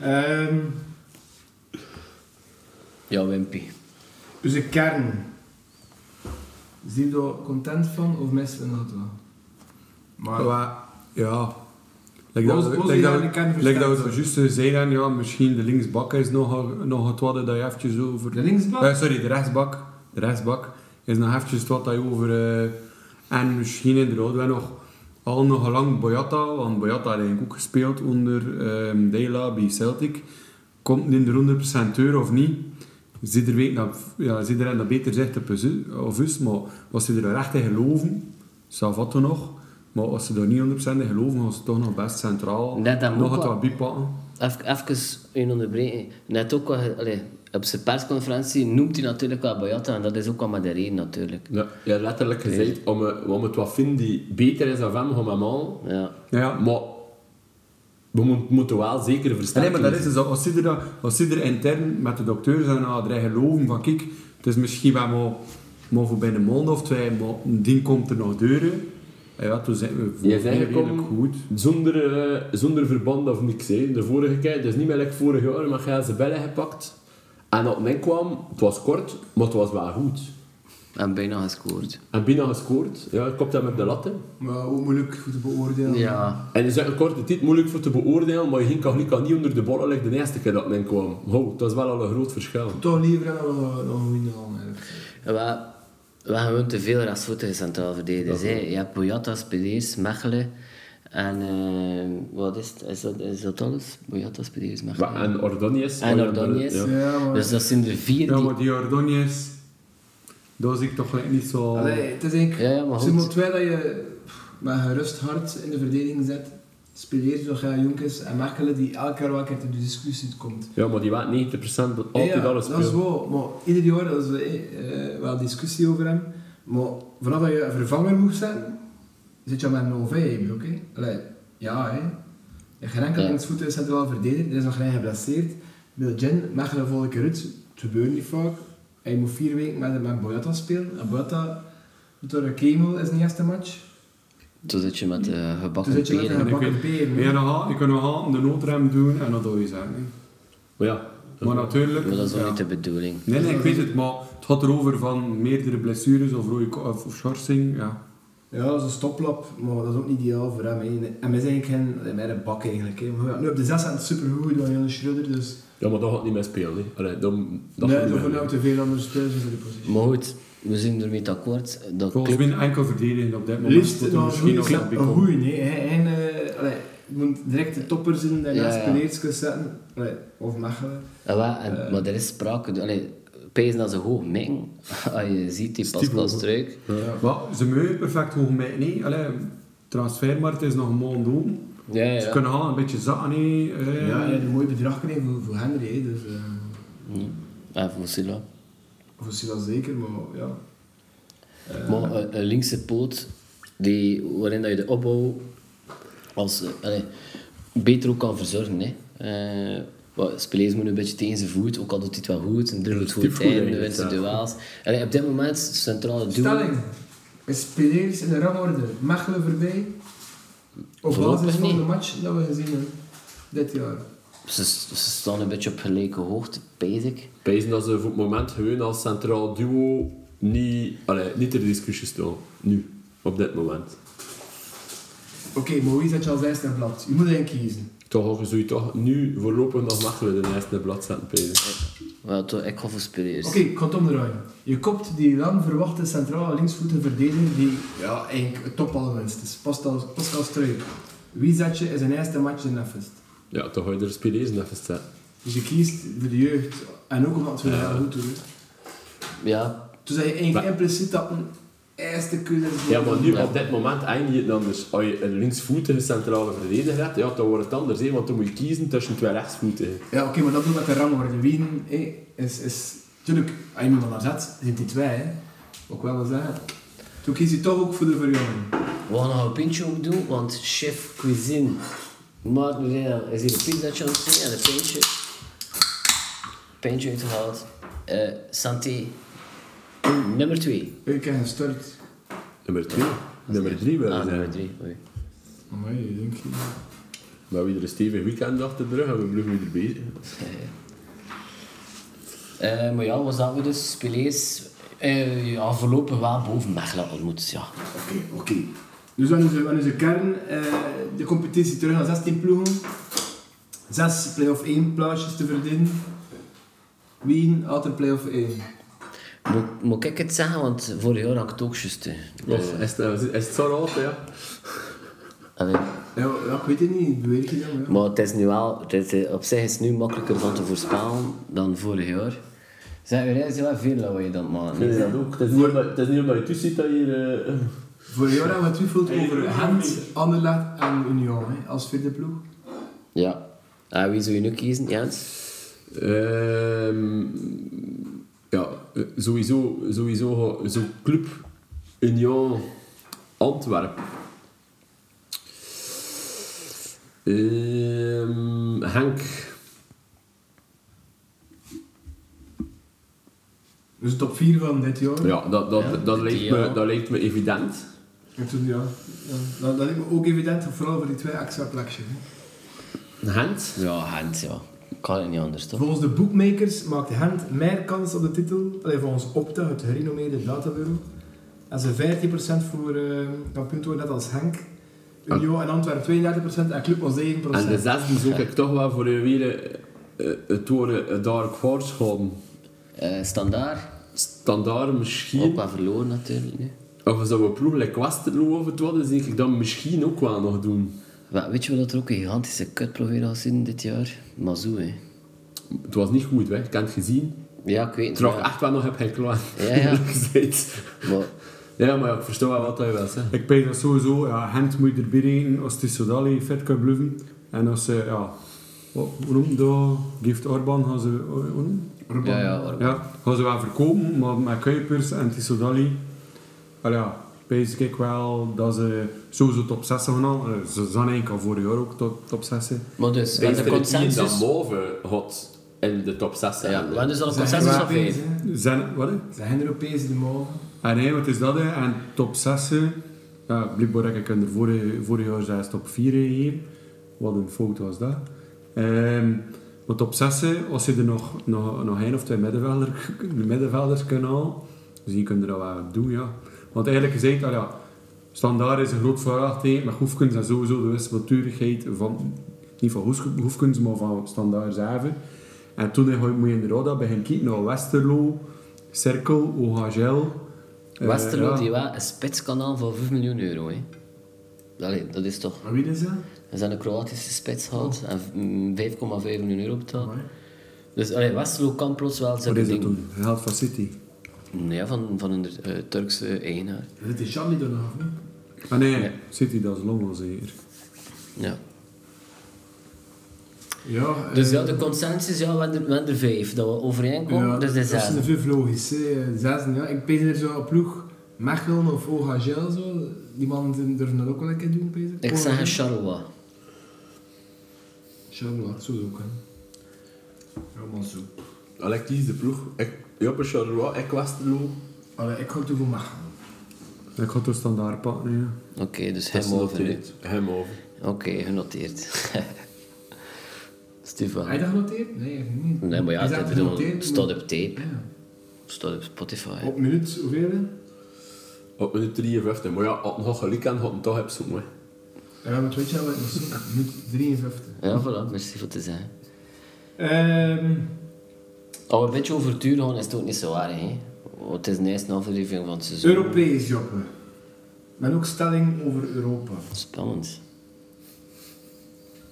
S3: Ehm,
S2: Ja, Wimpy.
S3: dus de kern. Zie je daar content van of missen we dat wel? Maar...
S4: Maar ja, lijkt
S3: Wat
S4: dat,
S3: was- wat was
S4: lijkt
S3: die
S4: dat,
S3: aan de kern
S4: lijkt dat we
S3: versterkt?
S4: zojuist eh, zeiden, ja, misschien de linksbak is nog, nog het wat dat je eventjes over...
S3: De linksbak?
S4: Eh, sorry, de rechtsbak. De rechtsbak is nog eventjes het wat dat je over... eh, en misschien inderdaad wel nog al nog lang Boyata, want Boyata had eigenlijk ook gespeeld onder ehm Dela bij Celtic. Komt in de 100% deur of niet? Zit er weet dat, ja, zit er dat beter zegt op us- of us, maar als ze er echt in geloven, Savato nog. Maar als ze daar niet 100% in geloven, gaan ze toch nog best centraal.
S2: Net dat
S4: nog
S2: moet
S4: het
S2: wel.
S4: wat bijpakken.
S2: Even, even een onderbreken. Net ook, wel, allee, op zijn persconferentie noemt hij natuurlijk wel Boyata. En dat is ook wel met de reden natuurlijk.
S6: Ja, ja letterlijk gezegd, om, eh, om het wat vinden die beter is dan hem, gaan we hem halen.
S2: Ja.
S4: Ja.
S6: Maar we mo- moeten wel zeker verstaan.
S4: Nee, maar dat is dus, als ze er, dan- als ze er intern met de dokters en aan erin geloven van kijk, het is misschien wel maar, maar voor binnen een maand of twee, maar die komt er nog deuren. En ja, toen zijn we voor
S6: Jij bent
S4: redelijk
S6: gekomen.
S4: goed.
S6: Zonder, eh, zonder verband of niks. Hè. De vorige keer, dus niet meer like vorig jaar, maar jij ze bellen gepakt. En op mij kwam, het was kort, maar het was wel goed.
S2: En bijna gescoord.
S6: En bijna gescoord. Ja, ik kopte hem op de latten.
S3: Maar hoe moeilijk goed te beoordelen.
S2: Ja.
S6: En is uit een korte tijd moeilijk voor te beoordelen, maar je ging Kaglika niet onder de ballen liggen de eerste keer dat men kwam. Ho, dat is wel al een groot verschil.
S3: Toch liever dan we nog een goede halen eigenlijk.
S2: En We, we hebben gewoon te veel rastvoetige centraal verdedigers. hè. Je hebt Boyata, Spedeers, Mechelen. En eh, wat is het? Is dat, is dat alles? Boyata, Spedeers, Mechelen.
S6: Wa- En Ordonez.
S2: En Ordonez.
S6: eh, Ja.
S3: Ja, maar...
S2: Dus dat zijn er vier
S4: Ja,
S2: die...
S4: maar die Ordonez, daar zie ik toch gelijk niet zo...
S3: Allee, het is eigenlijk...
S2: Oh. Ja, ja, maar
S3: Het is maar
S2: goed.
S3: twee dat je pff, met gerust hart in de verdediging zet. Spileert door Gaia Jonkers en Mechelen die elke keer wel een keer tot de discussie komt.
S6: Ja, maar die waren 90% dat altijd
S3: Ja,
S6: alles
S3: dat is
S6: speelt.
S3: wel. Maar ieder jaar dat is eh, eh, wel discussie over hem. Maar vanaf dat je een vervanger moet zetten, zit je al met een OV in je broek, hè. Allee, ja hè. Je hebt geen enkel
S2: Ja.
S3: linksvoet is centraal verdedigd, er is nog geen geblesseerd. Wil Jen, Mechelen volgende keer uit, het gebeurt niet vaak. Hij moet vier weken met, met Boyata spelen. En Boyata doet door een chemo in zijn eerste match.
S2: Toen zit je met eh
S3: Toen
S2: gebakken
S3: zit je met
S2: peren.
S3: een
S4: Ik
S3: bakken
S4: weet-
S3: peren.
S4: Maar
S3: hè.
S4: ja, dan haal- je kunt nog haal de noodrem doen en dat doe je zijn. hè.
S6: Maar ja.
S4: Maar natuurlijk...
S2: Maar dat is wel
S4: ja.
S2: niet de bedoeling.
S4: Nee, nee, ik weet het, maar het gaat erover van meerdere blessures of, rode, ko- of, of schorsing, ja.
S3: Ja, dat is een stoplap, maar dat is ook niet ideaal voor hem. hè. En wij zijn geen allee, meer een bak eigenlijk. hè. Maar ja, nu op de 6 aan het supergoed gedaan, Jan Schreuder, dus...
S6: ja, maar dat gaat niet meer spelen. hè. Allee, dan, dat
S3: nee,
S6: gaat
S3: er
S6: niet meer
S3: gaan ook te veel andere spelers in de positie.
S2: Maar goed, we zijn ermee akkoord. Dat
S4: Volgens
S2: club-
S4: mij een enkel verdedigen op dit moment.
S3: Liefst
S4: moet er
S3: nog
S4: misschien
S3: een
S4: nog
S3: goeie, een
S4: bij komen.
S3: goeie, nee. Hij, hij, eh, allee, je moet direct de toppers in, daarna
S2: Ja,
S3: ja,
S2: ja.
S3: zetten. Allee, of Mechelen.
S2: Ja, wel, en, maar er is sprake. Allee, Pees dat ze hoog mikken. Als je ziet die Pascal Struik.
S4: Maar ze mogen perfect hoog mij niet. Allee, transfermarkt is nog een maand doen.
S2: Ja,
S4: Ze
S2: ja.
S4: kunnen al een beetje zakken. hè. Eh,
S3: Ja, je hebt een mooi bedrag gekregen voor, voor Henry, hè, dus... eh,
S2: En voor Silla.
S3: voor Sila zeker, maar ja...
S2: Maar een, een linkse poot die, waarin dat je de opbouw als, eh, allee, beter ook kan verzorgen. Hè. Eh, wat, Speleers moet een beetje tegen zijn voet, ook al doet hij het wel goed. En dribbelt goed
S6: goed
S2: in,
S6: eigenlijk,
S2: wint zijn
S6: ja.
S2: duels. Allee, op dit moment is het centrale doel.
S3: Stelling. Is spelers in de rangorde Mechelen voorbij? Op
S2: Voorlopig
S3: basis van
S2: niet.
S3: de match dat we gezien hebben dit jaar.
S2: Ze, ze staan een beetje op gelijke hoogte, pees ik.
S6: Pijzen dat ze voor het moment gewoon als centraal duo niet, allee, niet ter discussie staan. Nu, op dit moment.
S3: Oké, maar wie zet je als eerste in blad? Je moet één kiezen.
S6: Toch al zou je toch nu voorlopig nog Mechelen de eerste blad zetten, Pijzen.
S2: Wel, toch, ik ga voor Speleers.
S3: Oké, ik ga het omdraaien. Je kopt die lang verwachte centrale linksvoetige verdediger die ja, eigenlijk het topalwinst is. Pascal, Pascal Struik. Wie zet je in zijn eerste match in Neffest?
S6: Ja, toch ga je er Spelezen even zetten.
S3: Dus je kiest voor de jeugd. En ook omdat we dat heel goed doen. hè.
S2: Ja,
S3: Toen zei je eigenlijk
S6: Maar-
S3: impliciet dat een eerste keuze is.
S6: Ja, maar nu op dit moment eindig je het anders. Als je een linksvoetige centrale verdediger hebt, ja, dan wordt het anders, hè, want dan moet je kiezen tussen twee rechtsvoetigen.
S3: Ja, oké, maar dat doen we met de rangorde. Wien eh, is, is... Tuurlijk, als je iemand naar zet, zijn die twee, hè. Wat ik wel wil zeggen. Toen kies je toch ook voor de verjonging.
S2: we gaan nog een pintje ook doen, want chef cuisine Mark Morel is hier een pizzaatje aan het doen en een pintje. Pintje uitgehaald. Eh, Santé. Nummer 2.
S3: Ik heb gestart.
S6: Nummer 2. Nummer 3 wel.
S2: Ah,
S6: zijn.
S2: nummer 3.
S3: Amai, denk je.
S6: Maar weer een stevig weekend achter de rug en we blijven weer bezig.
S2: Eh, maar ja, was dat we dus spelers eh, ja, voorlopig wel boven Mechelen ontmoet. Ja.
S3: Oké, oké. Dus dan is, de- dan is de kern eh, de competitie terug naar 16 ploegen. Zes play-off 1 plaatsjes te verdienen. Wien altijd play-off 1.
S2: Moet, moet ik het zeggen, want vorig jaar had ik het ook juist. eh.
S6: Of Oh, is het, is het zo rood, ja?
S2: Allee.
S3: Ja, ja, ik weet het niet, beweeg je dan? Ja.
S2: Maar het is nu wel, het is, eh, op zich is het nu makkelijker van te voorspellen dan vorig jaar. Zijn we reizen wel veel lawaai dan, maar
S6: Is dat ook? Het is niet omdat, het is niet omdat je toeziet dat je hier... eh,
S3: Voor jou hebben we getwijfeld over Gent, Anderlecht en Union hè, als vierde ploeg.
S2: Ja. Ah, wie zou je nu kiezen, Jens?
S6: Ehm, ja, eh, sowieso, sowieso ga- zo'n club Union Antwerpen. Ehm, Henk.
S3: Dus de top 4 van dit jaar.
S6: Ja, dat, dat,
S2: Ja,
S6: dat,
S2: die,
S6: lijkt
S2: ja.
S6: me, dat lijkt me evident.
S3: En toen, ja, ja, dat, dat lijkt me ook evident, vooral voor die twee extra plekjes. hè.
S6: Gent.
S2: Ja, Gent, ja. Kan het niet anders, toch?
S3: Volgens de bookmakers maakt Gent meer kans op de titel. Allee, volgens Opta, het gerenommeerde databureau. En ze 15% voor eh kampioen te worden, net als Henk. Union en Antwerpen 32% en Club was 9%.
S6: En de zesde zoek ik toch wel voor een weer eh, eh, het worden eh, Dark Horse gaan.
S2: Eh, standaard.
S6: Standaard misschien.
S2: Ook wel verloren, natuurlijk. Nu.
S6: Of we zouden ploeg like Westerlo over het worden, denk ik dat misschien ook wel nog doen.
S2: Maar weet je wat dat er ook een gigantische kutploeg weer gaat zien dit jaar? Mazou, hè.
S6: Het was niet goed, hè. ik heb het gezien.
S2: Ja, ik weet het.
S6: Terwijl ik
S2: maar-
S6: echt wel nog heb geklaar.
S2: Ja, ja.
S6: Gezet.
S2: Maar,
S6: ja, maar ja, ik versta wel wat hij wil zeggen.
S4: Ik denk dat sowieso, ja, Gent moet je erbij rekenen als Tissodali vet kan bluffen. En als ze, ja, wat- hoe noem je dat? Gift Orban gaan ze, oh, hoe noem
S2: ja, ja, hoor.
S4: Ja, gaan ze wel verkopen, maar met Kuipers en Tissodali, al ja, pees ik wel dat ze sowieso top 6 gaan halen. Eh, Ze zijn eigenlijk al vorig jaar ook top, top 6. hè.
S2: maar dus, we
S6: Ik
S2: hadden
S6: vind het niet dat
S2: consensus...
S6: boven had in de top 6
S2: Ja, we
S6: zijn.
S2: hadden dus al een
S3: Zijn
S2: consensus van
S3: Europees,
S2: vijf.
S3: hè.
S4: Zijn, wat hè?
S3: Zijn Europees de mogen.
S4: En nee, wat is dat hè? En top 6, hè? ja, blijkbaar heb ik er vorig, vorig jaar zelfs top 4 gegeven. Wat een fout was dat. Ehm, maar top 6, als je er nog, nog, nog één of twee middenvelders, middenvelders kunt halen, dus die kunnen dat wel doen, ja. Want eigenlijk gezegd, ah ja, standaard is een groot verwachting, maar Hoefkens en sowieso de wisselmaturigheid van, niet van Hoes- Hoefkens, maar van standaard zelf. En toen ga je- moet je inderdaad beginnen kijken naar Westerlo, Cirkel, Ogagel. eh,
S2: Westerlo,
S4: ja.
S2: die wel een spitskanaal van 5 miljoen euro, hè. Allee, dat is toch...
S3: Maar wie is dat?
S2: Ze zijn een Kroatische spits gehaald en mm, 5,5 miljoen euro betaald.
S3: Amai.
S2: Dus allee, Westerlo kan plots wel
S4: Wat
S2: zijn
S4: is dat
S2: ding...
S4: toen? Geld van City.
S2: Ja, van, van een eh, Turkse eigenaar.
S3: Is het die Charlie dan nog? of niet?
S4: Ah nee, City dat is lang al zeker.
S2: Ja.
S3: Ja, eh,
S2: Dus ja, de consensus, ja, we hebben er- we hebben er vijf. Dat we overeenkomen,
S3: ja,
S2: dus dat is
S3: dat is
S2: zes.
S3: een vijf logisch. hè. Zesde, ja. Ik pees er zo op ploeg Mechelen of Ogagel. Zo. Die mannen durven dat ook wel een keer doen, pees
S2: Ik zeg een Charleroi.
S3: Charlotte, zo ook. Hè. Helemaal zo.
S6: Allee, ik kies de ploeg. Ik, Joppe Charleroi, ik Westerlo.
S3: Allee, ik ga toevoegen Mechelen.
S4: Ik ga het standaard pakken. Ja.
S2: Oké, dus
S6: Dat is
S2: hem over. hè.
S6: genoteerd. Hem over.
S2: Oké, genoteerd. Stefan.
S3: Heb je dat genoteerd? Nee, ik niet.
S2: Nee, maar ja,
S3: Is dat
S2: dat
S3: genoteerd? Oh.
S2: staat op tape.
S3: Ja.
S2: Staat op Spotify.
S3: Op minuut, hoeveel? hè?
S6: Op minuut 53. Maar ja, had nog gelijk en had hem toch heb zoeken. hè.
S3: Ja, maar weet je wel, dat is zo. minuut 53.
S2: Ja, voilà, merci voor te zeggen.
S3: Ehm,
S2: Als we een beetje over duur gaan, is het ook niet zo waar, hè? Want het is een eerste aflevering van het seizoen.
S3: Europees, Joppe. Met ook stelling over Europa.
S2: Spannend.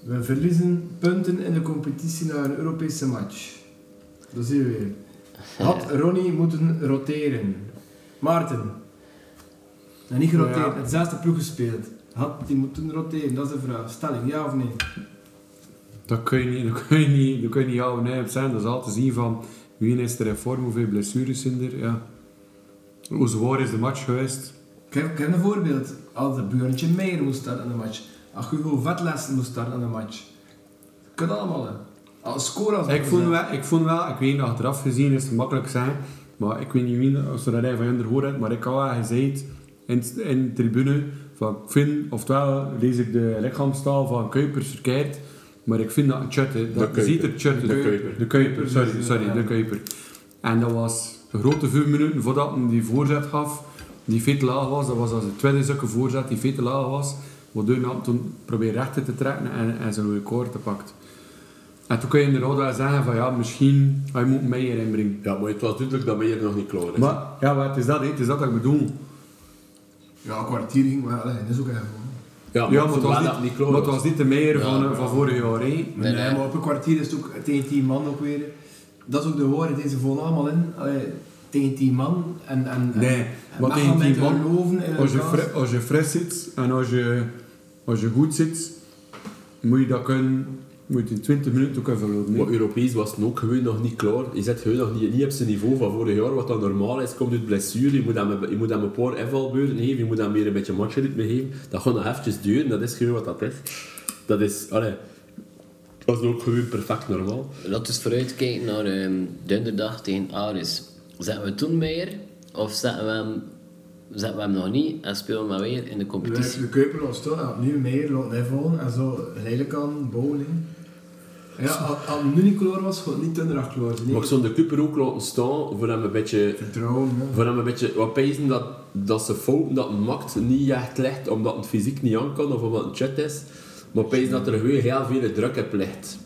S3: We verliezen punten in de competitie na een Europese match. Dat zie je weer. Had Ronnie moeten roteren. Maarten. En niet geroteerd,
S4: Ja.
S3: het zesde ploeg gespeeld. Had die moeten roteren, dat is de vraag. Stelling, ja of nee?
S4: Dat kun je niet, dat kun je niet, dat kun je niet houden. Nee, op zijn, dat is altijd zien van wie is er in vorm, hoeveel blessures zijn er. Ja. Hoe zwaar is de match geweest?
S3: Ik heb, ik heb een voorbeeld. Als de Björntje Meijer moest starten aan de match. Als Hugo Vetles moest starten aan de match. Kan allemaal, hè. Als score als
S4: Ik vond, wel, ik vond wel, ik weet niet, achteraf gezien is het makkelijk zijn, maar ik weet niet wie, als je dat hij van hun gehoord hebt, maar ik had wel gezegd in, in de tribune, van ik vind, oftewel lees ik de lichaamstaal van Kuipers verkeerd, maar ik vind dat een chut, hè. dat
S5: De
S4: je ziet er chut,
S5: De
S4: uit.
S5: Kuiper.
S4: de Kuiper, sorry, sorry, de Kuiper. En dat was een grote vijf minuten voordat hij die voorzet gaf, die veel te laag was, dat was als de tweede zulke voorzet die veel te laag was, waardoor hij toen probeerde rechter te trekken en, en zijn rode koord te pakt. En toen kun je inderdaad wel zeggen van ja, misschien, hij moet mij hierin brengen.
S5: Ja, maar het was duidelijk dat mij er nog niet klaar is.
S4: Maar ja, maar het is dat, hè. het is dat dat ik bedoel.
S3: Ja, een kwartier ging, maar allee, dat is ook eigenlijk gewoon.
S5: ja, maar,
S4: Ja, maar
S5: het
S4: het
S5: was
S4: was
S5: dat niet
S4: niet,
S5: klaar
S4: maar het
S5: was.
S4: was niet de meijer van, eh, van vorig jaar, hè.
S3: Nee,
S2: nee.
S3: maar op een kwartier is het ook tegen tien man ook weer. Dat is ook de woorden, deze vol allemaal in. Allee, tegen tien man. En, en,
S4: Nee,
S3: en
S4: maar
S3: mag men
S4: tegen tien
S3: te
S4: man,
S3: Eh, geloven in
S4: Als je,
S3: elkaar.
S4: fri- als je fris zit en als je, als je goed zit, moet je dat kunnen, moet je in 20 minuten ook kunnen verlopen. hè.
S6: Maar Europees was het ook gewoon nog niet klaar. Je zit gewoon nog niet, niet op zijn niveau van vorig jaar, wat dan normaal is. Komt uit blessure, je moet hem, je moet hem een paar invalbeurten geven, je moet hem weer een beetje matchritme geven. Dat gaat nog eventjes duren, dat is gewoon wat dat is. Dat is, allee, dat is ook gewoon perfect normaal.
S2: Laten we vooruitkijken naar ehm, donderdag tegen Aris. Zetten we toen meer of zetten we hem, zetten we hem nog niet en spelen we hem weer in de
S3: We
S2: competitie?
S3: hebben de Kuiper ons toch ja, nu meer laten invallen en zo geleidelijk aan bouwen. hè. Ja, als als het nu niet kloor was, gaat het niet donderdag kloor zijn. hè.
S6: Maar ik zou de Cooper ook laten staan voor hem een beetje...
S3: Vertrouwen, ja.
S6: Voor hem een beetje wat pezen dat, dat ze fouten dat hij maakt niet echt ligt omdat het fysiek niet aan kan of omdat het chat is. Maar pezen dat er gewoon heel veel druk op ligt.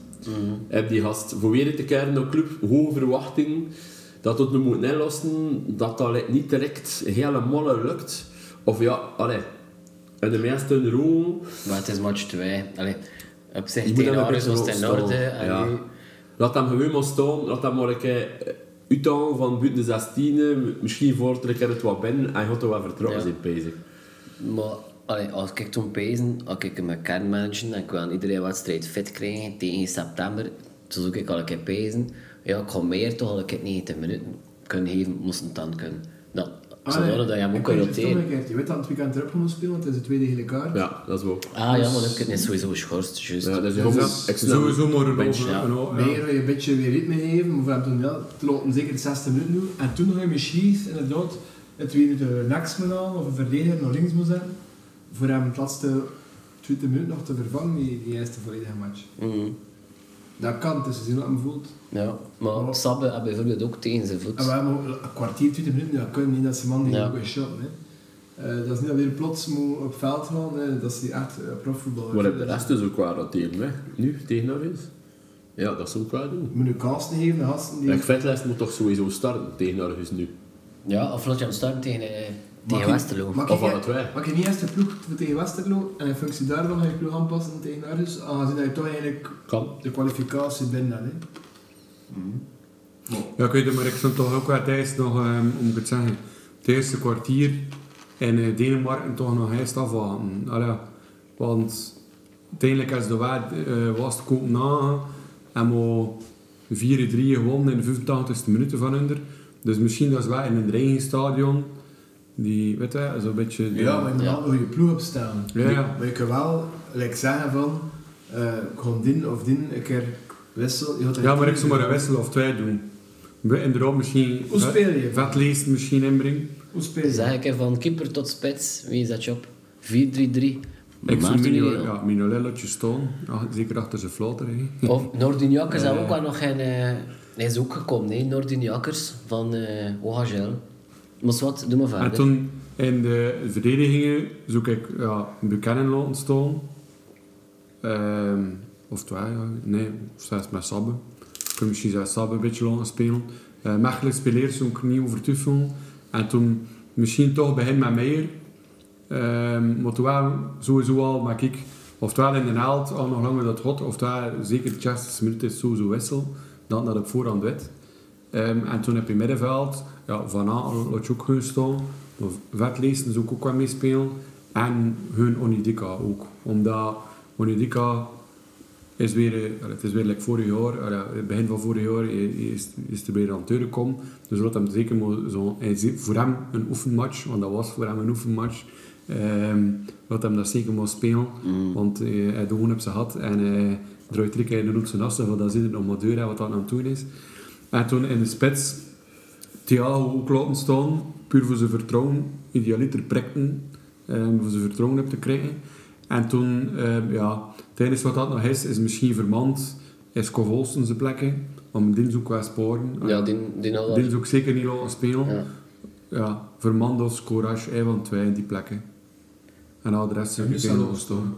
S6: Heb die gast. Voor weer te keren naar club, hoge verwachtingen. Dat het nu moet inlossen, dat dat like, niet direct helemaal lukt. Of ja, allee. En de meeste in de room,
S2: Maar het is match 2. Allee, op zich
S6: je moet
S2: tegen
S6: hem een
S2: Aris
S6: beetje
S2: was het in
S6: opstaan.
S2: orde. en
S6: Ja.
S2: nu-
S6: Laat hem gewoon maar staan, laat hem maar een keer uithalen van buiten de 16. Misschien voor een keer het wat binnen en gaat er wat vertrouwen
S2: Ja.
S6: zijn bezig.
S2: Maar allee, als ik toen pezen, als ik mijn kern manage en ik wil iedereen wedstrijd fit krijgen tegen september, toen zoek ik al een keer pezen. Ja, ik ga meer toch al een keer 90 minuten kunnen geven, moest het dan kunnen. Dat,
S3: Ah, nee.
S2: zodat dat je hem
S3: En
S2: ook kan
S3: je het
S2: roteren.
S3: omgekeerd. Je weet dat het weekend erop moet spelen, want het is de tweede gele kaart.
S6: Ja, dat is wel.
S2: Ah ja, maar dan kun je sowieso geschorst, juist.
S6: Ja, dat is
S4: Dus
S6: gewoon
S4: dat-
S6: extra-
S4: sowieso maar een
S6: bench,
S4: over-
S6: ja.
S4: een o- ja.
S3: Meer wil je een beetje weer ritme geven, maar we hebben toen ja, het laten zeker de 60 minuten doen. En toen ga je misschien inderdaad het weer de next moet halen of een verdediger naar links moet zetten. Voor hem de laatste 20 minuten nog te vervangen, die, die eerste volledige match.
S2: Mhm.
S3: Dat kan, het is te zien wat hem voelt.
S2: Ja, maar Sabbe heeft bijvoorbeeld ook tegen zijn voet.
S3: En we hebben ook een kwartier, 20 minuten, dat kunnen niet dat ze man die
S2: Ja.
S3: ook is shot. Hè. Eh, dat is niet dat weer plots moet op veld gaan, hè. dat is die echt eh, profvoetballer.
S6: Maar de rest is ook waar dat tegen hè? Nu, tegen Norris? Ja, dat zou ik wel doen.
S3: Je moet een kansen geven, de gasten die...
S6: En Vetles moet toch sowieso starten tegen Norris nu?
S2: Ja, of laat je hem starten tegen, eh,
S3: Mag
S2: tegen
S3: je-
S2: Westerlo.
S3: mag
S6: Of
S3: je-
S6: alle twee.
S3: Mag je niet eerst de ploeg tegen Westerlo en in functie daarvan ga je ploeg aanpassen tegen Arus, aangezien dat je toch eigenlijk
S6: Kan.
S3: de kwalificatie binnen hebt. hè.
S4: Ja, ik weet het, maar ik stond toch ook wel thuis nog, ehm, hoe moet ik het zeggen, het eerste kwartier in eh, Denemarken toch nog eerst afwachten. Allee, want uiteindelijk is de waard, eh, was het Kopenhagen en we 4-3 gewonnen in de 85 e minuut van onder. Dus misschien dat ze wel in een eigen stadion, die, weet je, zo'n beetje... de-
S3: Ja, maar je moet
S2: Ja.
S3: wel een goede ploeg opstellen.
S4: Ja, ja.
S3: Maar je kan wel like, zeggen van, eh, ik ga din of din een keer wisselen. Je gaat er
S4: Ja, maar
S3: tien
S4: ik zou maar een
S3: doen.
S4: wissel of twee doen. We- Inderdaad, misschien...
S3: Hoe speel je?
S4: Vet leest misschien inbrengen.
S3: Hoe speel
S2: Oh, Zeg
S3: je?
S2: ik er van keeper tot spits, wie zet je op? 4-3-3.
S4: Ik zou
S2: Maarten
S4: Mino,
S2: Leeuw.
S4: ja, Minolellotje staan, Ja, zeker achter zijn flotter. hè.
S2: Of Noordinjakers hebben ook wel nog geen... eh, hij is ook gekomen, nee, Noordinjakers van eh OHL. Maar wat, doe maar
S4: En
S2: verder.
S4: toen in de verdedigingen zoek ik ja, Buchanan laten staan. Ehm, of twee, ja. nee, of zelfs met Sabbe. Ik kan misschien zelfs Sabbe een beetje laten spelen. Eh Mechelen speleert zo'n knie over Tuffel. En toen misschien toch begin met Meijer. Ehm maar toen wel sowieso al, maar ik, oftewel in de naald al nog langer dat hot, oftewel zeker de Chester Smith is sowieso wissel, dan dat op voorhand wit. Ehm, en toen heb je middenveld, ja, Van Aal laat je ook gewoon staan. Maar Vetleesten zou ik ook wel meespelen. En hun Onidika ook. Omdat Onidika is weer, eh, het is weer like vorig jaar, eh, ja, het begin van vorig jaar eh, is, is er weer aan het deuren komen. Dus laat hem zeker maar zo, hij zie- voor hem een oefenmatch, want dat was voor hem een oefenmatch. Ehm, wat hem daar zeker moest spelen, want eh, hij had de hoon op zijn had en hij draait drie keer in de hoek zijn assen, want dan zit het nog maar deur hè, wat dat aan het doen is. En toen in de spits, Thiago ook laten staan, puur voor zijn vertrouwen, idealiter prikten, ehm, voor zijn vertrouwen op te krijgen. En toen, ehm, ja, het enige wat dat nog is, is misschien vermand, is Kov Olsen zijn plekken, om dinsdag qua sporen.
S2: Ja, die, nou die had al-
S4: Dit is ook zeker niet laten spelen.
S2: Ja.
S4: Ja. Vermandos, Courage, hij van twee in die plekken. En al de rest zijn
S3: En Nusa
S4: meteen
S3: laten staan.
S4: gestaan.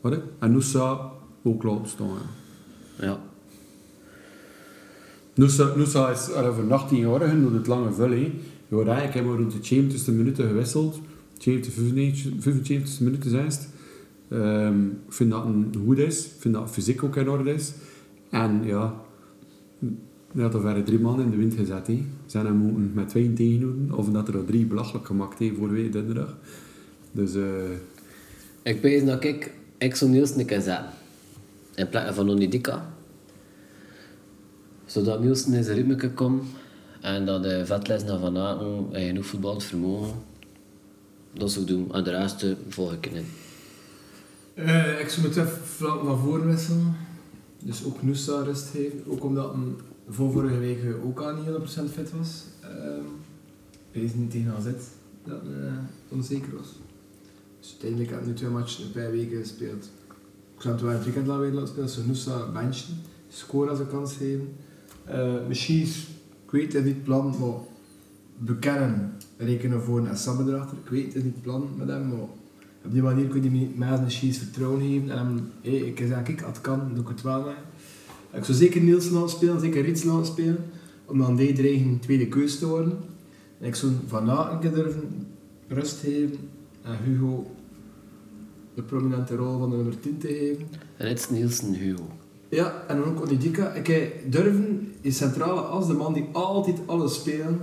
S4: Wat? hè? En Nusa ook laten staan. ja.
S2: Ja.
S4: Nusa, Nusa is er over 18 jaar door het lange vullen. Je wordt eigenlijk helemaal rond de 70 minuten gewisseld. 70, 95 75 minuten zijn het. Ehm, ik vind dat een goed is. Ik vind dat fysiek ook in orde is. En ja, net of waren drie man in de wind gezet. Hè. Zijn hem moeten met twee tegenhouden. Of dat er al drie belachelijk gemaakt heeft voor week donderdag. Dus eh,
S2: Ik weet dat ik Exxon Niels niet kan zetten. In plaats van Onidika. Zodat Nielsen in zijn ritme kan komen. En dat de vetles naar Van Aken en genoeg voetbal vermogen. Dat zou ik doen. En de rest eh, volg ik in.
S3: Eh, ik zou meteen flank naar voren wisselen. Dus ook Nusa rust geven. Ook omdat hem voor vorige week ook al niet 100% fit was. Ehm, Hij is niet tegen AZ dat eh, onzeker was. Dus uiteindelijk had hij nu twee matchen in een paar weken gespeeld. Ik zou hem wel het weekend laten weer laten spelen. Zou Nusa benchen. Score als een kans geven. Eh, misschien, is- ik weet het niet, het plan, maar bekennen. Rekenen voor en Sabbe erachter. Ik weet het niet, het plan met hem, maar op die manier kun je mensen Chies vertrouwen geven. En hem, hey, ik zeg, ik, als het kan, doe ik het wel. Hè. Ik zou zeker Nielsen laten spelen, zeker Rits laten spelen. Om dan die dreigen tweede keus te worden. En ik zou Van Aken durven rust geven. En Hugo de prominente rol van de nummer 10 te geven.
S2: En het is Nielsen Hugo.
S3: Ja, en dan ook Onidika. Kijk, Durven is centrale als de man die altijd alles speelt.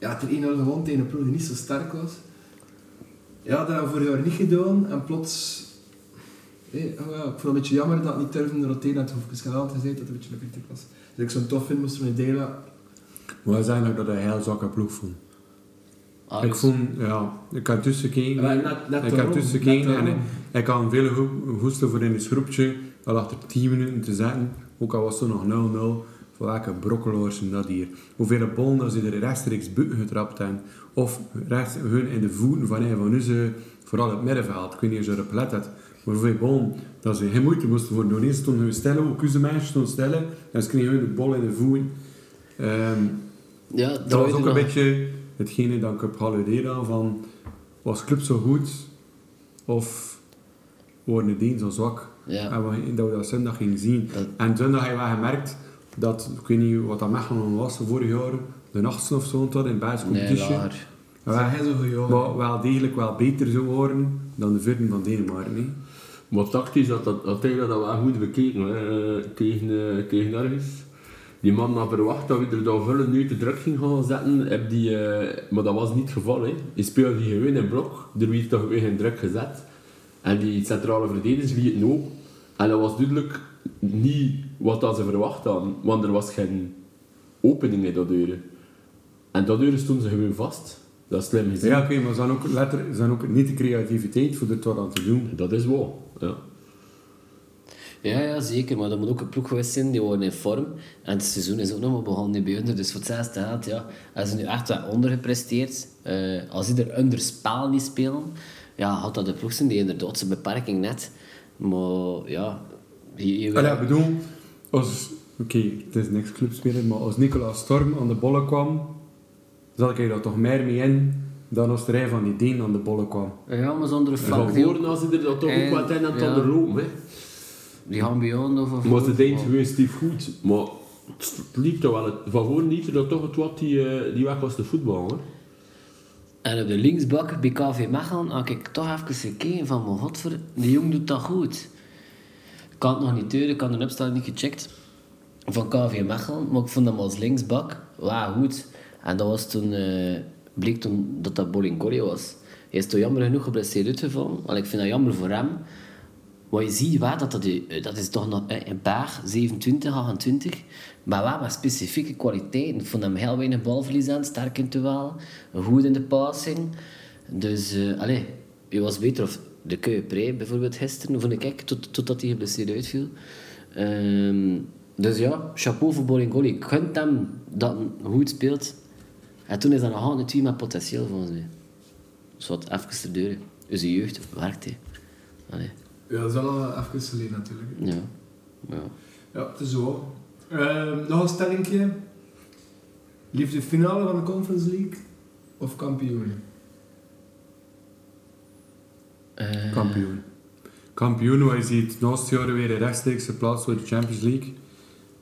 S3: Ja, ten ene hadden gewonnen tegen een ploeg die niet zo sterk was. Ja, dat hebben we vorig jaar niet gedaan. En plots... hé, oh ja, ik vond het een beetje jammer dat niet Durven er tegen het hoefjes gehaald gezegd dat het een beetje een kritiek was. Dus ik zou het tof vinden moest er een delen.
S4: wij zijn ook dat hij heel zakken ploeg vond.
S2: Ah,
S4: Ik
S2: dus-
S4: vond, ja, ik had tussen
S3: Maar
S4: gekeken.
S3: net- net
S4: Ik
S3: daarom,
S4: had tussen
S3: net
S4: gekeken en ik,
S3: daarom.
S4: ik had hem veel go- goesten voor in het groepje. Al achter 10 minuten te zetten, ook al was het nog 0-0. Van welke brokkeloers zijn dat hier? Hoeveel ballen dat ze er rechtstreeks buiten getrapt hebben. Of rechts, hun in de voeten van een van onze, vooral het middenveld. Ik weet niet of je erop let hebt. Maar hoeveel ballen dat ze geen moeite moesten voor doen. Eerst stonden hun stellen, ook onze meisjes stonden stellen. En ze kregen hun de bal in de voeten. Ehm,
S2: Ja,
S4: dat was ook een
S2: nog-
S4: beetje hetgene dat ik heb gehalludeerd aan van was club zo goed of worden de Deen zo zwak?
S2: Ja.
S4: En we- dat we dat zondag gingen zien.
S2: Dat-
S4: En zondag hebben we gemerkt dat, ik weet niet wat dat Mechelen was vorig jaar, de nachtsen of zo, dat in de Belgische
S2: Nee,
S4: competitie.
S2: lager.
S3: Dat
S4: Wij-
S3: zijn geen zo'n jongen.
S4: maar wel degelijk wel beter zou worden dan de vierden van Denemarken. hè.
S6: Maar tactisch had dat, had hij dat wel goed bekeken hè, eh, tegen, eh, tegen ergens. Die man had verwacht dat we er dan vullen nu te druk ging gaan zetten. Heb die, eh, maar dat was niet het geval. Hè. Je speelde die gewoon in blok, er werd toch weer geen druk gezet. En die centrale verdedigers lieten ook. En dat was duidelijk niet wat dat ze verwacht hadden, want er was geen opening in dat deuren. En dat deuren stonden ze gewoon vast. Dat is slim gezien.
S4: Ja, oké, maar ze zijn ook, letter, ze zijn ook niet de creativiteit voor er toch aan te doen.
S6: Dat is wel. Ja.
S2: Ja, ja, zeker. Maar dat moet ook een ploeg geweest zijn. Die waren in vorm. En het seizoen is ook nog maar begonnen bij onder. Dus voor het zesde geld, ja. Als ze nu echt wat ondergepresteerd. eh als ze er onder spaal niet spelen. Ja, had dat de ploeg zijn die inderdaad zijn beperking net. Maar ja... Je, je-
S4: Allee, ik bedoel, als... Oké, het is niks clubspeler, maar als Nicolaas Storm aan de bollen kwam, zat ik er daar toch meer mee in dan als de rij van die Deen aan de bollen kwam.
S2: ja, maar zonder
S6: Van
S2: fuck. Die,
S6: voren als ze er dan toch
S2: En-
S6: ook wat in aan het
S2: ja.
S6: onderlopen. hè.
S2: die gaan beyond of... of-
S6: Maar ze deed gewoon stief goed. Maar het liep toch wel. het- Van voren liep er dan toch het wat die, eh, die weg was de voetbal. Hè?
S2: En op de linksbak bij KV Mechelen had ik toch even gekeken van, mijn godver, die jong doet dat goed. Ik kan het nog niet duren, ik had de opstelling niet gecheckt van KV Mechelen, maar ik vond hem als linksbak wauw goed. En dat was toen, eh, bleek toen dat dat Bolingorio was. Hij is toen jammer genoeg geblesseerd uitgevallen, want ik vind dat jammer voor hem. Wat je ziet, waar, dat, dat, die- dat is toch nog eh, een paar, 27, 28. Maar waar met specifieke kwaliteiten. Ik vond hem heel weinig balverlies aan, sterk in het duel, goed in de passing. Dus, eh allee, je was beter of de Keupré bijvoorbeeld gisteren, vond ik, tot, totdat hij geblesseerd uitviel. Ehm, dus ja, chapeau voor Boringoli. Ik gunt hem dat hij goed speelt. En toen is dat nog altijd een team met potentieel volgens mij. Dus wat even te deuren. Dus de jeugd werkt hè. Allee,
S3: Ja, dat is wel al even geleden natuurlijk.
S2: ja. ja.
S3: Ja, het is zo. Ehm, nog een stellingje. Liefde finale van de Conference League of kampioen?
S2: Eh,
S4: Kampioen. Kampioen, waar je ziet naast jaren weer een rechtstreekse plaats voor de Champions League.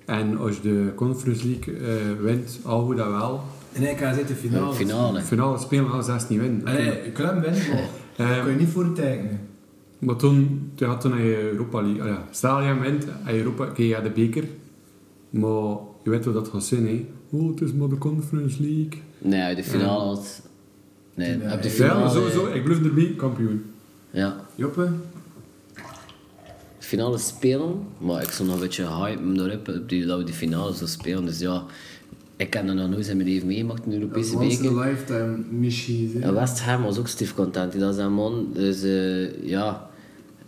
S4: En als je de Conference League eh, wint, al hoe dat wel.
S3: En hij kan zitten finale.
S2: finale.
S4: Finale spelen als zes niet winnen.
S3: Allee, je kan hem winnen, maar daar kun
S4: Ehm,
S3: je niet voor tekenen.
S4: maar toen, toen had toen hij Europa League. ah ja, stel je wint, hij Europa, oké, je had de beker. Maar je weet wat dat gaat zijn, hè? Oh, het is maar de Conference League.
S2: Nee, de finale had... Nee,
S3: Nee.
S2: op de
S3: Ja,
S4: Ja, maar
S2: finale...
S4: sowieso, ik blijf erbij, kampioen.
S2: Ja,
S3: Joppe?
S2: finale spelen, maar ik stond nog een beetje hype erop op die, dat we die finale zouden spelen. Dus ja, ik heb dat nog nooit in mijn leven meegemaakt in de Europese
S3: Once in
S2: beker.
S3: a lifetime missie. hè.
S2: En West Ham was ook stief content, die dat is een man. Dus eh, ja,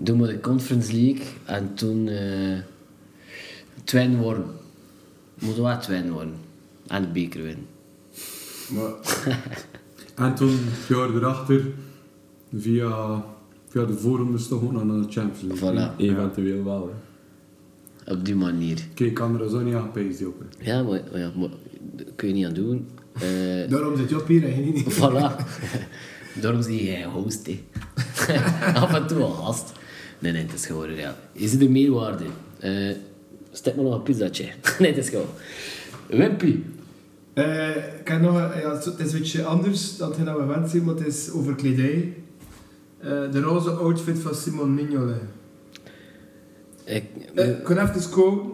S2: toen we de Conference League en toen eh twin worden. Moeten we twin worden. En de beker winnen.
S3: Maar
S4: En toen, het jaar erachter, via, via de voorrondes toch gewoon aan de Champions League.
S2: Voilà,
S6: Eventueel wel, hè.
S2: op die manier.
S4: Kijk, kan er zo niet aan pezen, joh.
S2: Ja, maar, maar ja, maar daar kun je niet aan doen. Eh,
S3: daarom zit Joppe hier en je niet.
S2: Voilà. Daarom zie jij een host, hè. Af en toe een gast. Nee, nee, het is gewoon real. Is het de meerwaarde? Eh stek me nog een pizzaatje. nee, het is gewoon... Wimpy.
S3: Eh, ik heb nog, een- ja, het is- het is een beetje anders dan hetgeen dat we gewend zijn, maar het is over kledij. Eh, de roze outfit van Simon Mignolet.
S2: Ik,
S3: Eh, Ik kon even komen,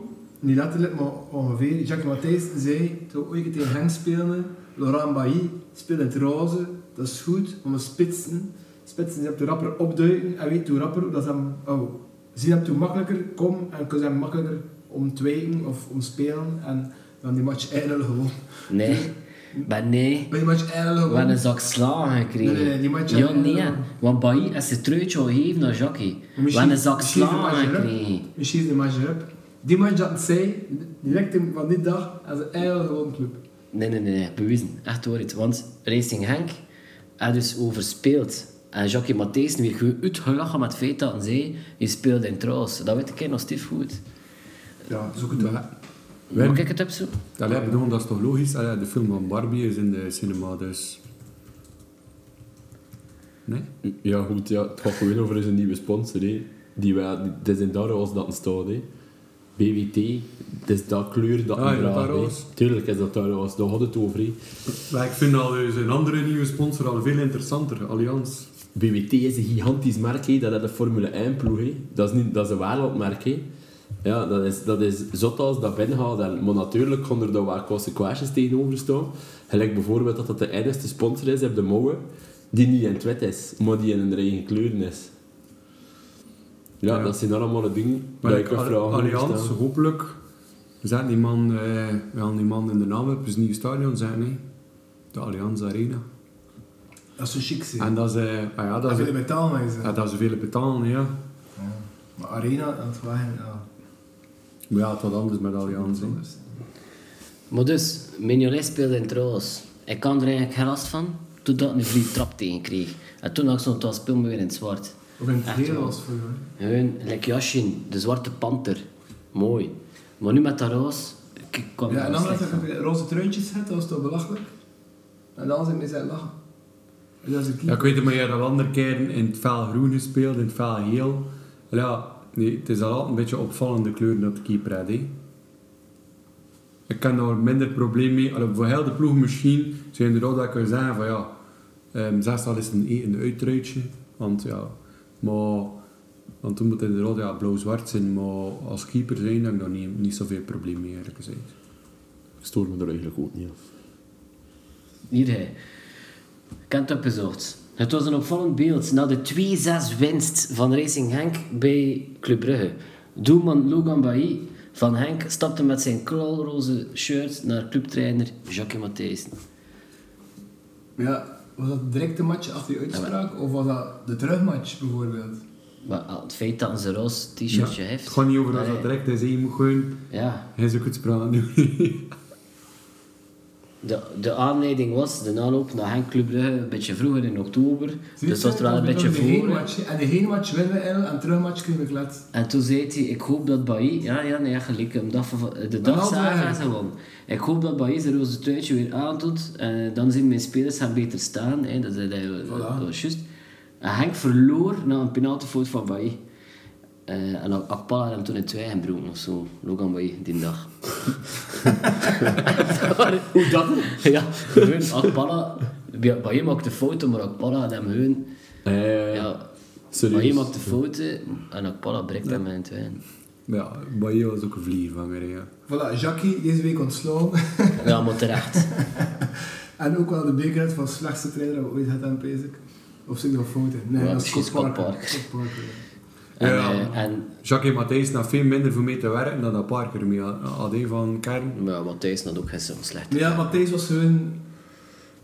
S3: niet letterlijk, maar ongeveer. Jacques Matthijs zei, toen we ooit tegen Henk speelden, Laurent Bailly speelt in het roze, dat is goed, maar met spitsen, spitsen, je hebt de rapper opduiken en weet hoe rapper, dat is hem, oh, zie hem toen makkelijker, kom en kun je hem makkelijker omtwijken of omspelen en dan die match eindelijk gewoon.
S2: nee. Maar nee.
S3: Bij die match eindelijk
S2: We hebben
S3: gewoon.
S2: een zak slagen gekregen.
S3: Nee, nee, nee, die match
S2: Ja,
S3: hebben we
S2: nee. hè.
S3: gewonnen.
S2: Want Bailly is zijn truitje al gegeven naar Jackie. We hebben een zak slagen gekregen.
S3: Misschien is de match erop. Die match dat zij, direct van die dag, als een eindelijk gewoon club.
S2: Nee, nee, nee, nee, bewezen. Echt waar. het. Want Racing Henk had dus overspeeld. En Jackie Matthijssen weer goed uitgelachen met het feit dat hij je speelde in trouwens. Dat weet ik nog stief goed.
S3: Ja, dat is ook het wel.
S4: Wim.
S2: Moet ik het opzoeken?
S4: Allee, ik bedoel, dat is toch logisch? Allee, de film van Barbie is in de cinema, dus... Nee?
S6: Ja, goed, ja, het gaat gewoon over zijn nieuwe sponsor. Hè. Die wij, het is in dat roze dat een staat. Hè. BWT, het is dat kleur dat
S4: Ah,
S6: een
S4: is dat
S6: draagt,
S4: dat
S6: hè.
S4: roze?
S6: Tuurlijk is dat daar roze, daar gaat het over. Hè.
S4: Maar ik vind al dus een andere nieuwe sponsor al veel interessanter, Allianz.
S6: BWT is een gigantisch merk, hè. dat is de Formule 1 ploeg. hè. Dat, is niet, dat is een wereldmerk. Hè. Ja, dat is, dat is zot als dat binnenhaalt. En- Maar natuurlijk gaan er daar wel consequenties tegenover staan. Gelijk bijvoorbeeld dat het de enigste sponsor is op de mouwen, die niet in het wit is, maar die in een eigen kleuren is. Ja,
S4: Ja.
S6: dat zijn allemaal de dingen
S4: Maar
S6: die
S4: ik
S6: ik me vragen over
S4: Allianz,
S6: stel.
S4: hopelijk... Zet die man, eh, wel die man in de naam op, dus nieuw stadion zijn, hè. De Allianz Arena.
S3: Dat is zo chic zijn.
S4: En dat ze... ah ja, dat
S3: Dat
S4: ze...
S3: willen betalen, is
S4: ja, dat ze veel betalen, ja.
S3: Maar Arena, dat waren ja.
S4: Maar ja, het wat anders met Allianz, hè.
S2: Maar dus, Mignolet speelde in trouwens. Ik kan er eigenlijk geen last van, totdat ik een vrije trap tegen kreeg. En toen had ik zo'n tas speel me weer in het zwart.
S3: Ook in
S2: Echt
S3: het hele
S2: wel.
S3: was voor jou.
S2: Hun, like Yashin, de zwarte panter. Mooi. Maar nu met dat roos, ik ik kwam
S3: Ja,
S2: er
S3: en
S2: wel
S3: dan als
S2: slecht van.
S3: je roze truintjes hebt, dat was toch belachelijk? En dan zijn mensen lachen. En dat is een
S4: Ja,
S3: keeper.
S4: ik weet het, maar je hebt al andere keren in het fel groen gespeeld, in het fel heel. Ja, nee, het is al altijd een beetje opvallende kleuren dat de keeper had. Hè. Ik kan daar minder probleem mee. Allee, voor heel de ploeg misschien zou je inderdaad dat kunnen zeggen van ja, ehm zestal is een etende uitruitje. Want ja, maar... Want toen moet het inderdaad ja, blauw-zwart zijn, maar als keeper zijn heb ik daar niet, niet zoveel probleem mee eerlijk gezegd.
S6: Ik stoor me er eigenlijk ook niet af.
S2: Hier hij. Ik heb het opgezocht. Het was een opvallend beeld na de 2-6 winst van Racing Henk bij Club Brugge. Doelman Logan Bailly van Henk stapte met zijn knalroze shirt naar clubtrainer Jacques Matthijssen.
S3: Ja, was dat direct de match als die uitspraak? Of was dat de terugmatch bijvoorbeeld?
S2: Maar al het feit dat ze een roze t-shirtje
S4: Ja,
S2: heeft...
S4: Het gaat niet over als
S2: Nee.
S4: dat direct is. hè. Je moet gewoon...
S2: Ja,
S4: Hij is ook goed spraak nu.
S2: de, de aanleiding was de aanloop naar Henk Club Brugge, een beetje vroeger in oktober.
S3: Zie je
S2: Dus
S3: het?
S2: was het wel een beetje
S3: de heenmatch,
S2: voor. hè.
S3: hè. En de heenmatch winnen we eigenlijk, en de terugmatch kunnen we glad.
S2: En toen zei hij, ik hoop dat Bailly... Ja, ja, nee, ja, gelijk. Om dat van- de dag
S3: altijd
S2: zagen ze
S3: eigenlijk.
S2: gewoon. Ik hoop dat Bailly zijn roze truitje weer aandoet. En dan zien mijn spelers hem beter staan. Hè. Dat, zei hij, dat was juist. En Henk verloor na een penaltyfout van Bailly. Eh, en dan Akpala had hem toen in twee gebroken of zo. Logan Bailly, die dag.
S6: Hoe dat?
S2: ja, gewoon Akpala... Bailly maakte fouten, maar Akpala had hem gewoon...
S6: Eh,
S2: Ja,
S6: serieus.
S2: Bailly maakte fouten en Akpala breekt hem in tweeën.
S4: Ja, Bayo was ook een vliervanger. hè, Ja.
S3: Voilà, Jackie deze week ontslagen.
S2: Ja, maar terecht.
S3: en ook wel de beker uit van slechtste trainer dat we ooit hadden aan Pezik. Of zit ik nog fouten? Nee,
S2: Ja,
S3: dat is
S2: precies,
S3: Scott Parker.
S2: Scott Parker.
S3: Scott Parker, ja.
S2: En,
S4: Ja.
S2: eh, en
S4: Jacques en Matthijs nog veel minder voor mee te werken dan dat Parker mee had- had hè, van Kern.
S2: Maar Matthijs had ook gisteren wel slecht.
S3: Maar ja, Matthijs was hun.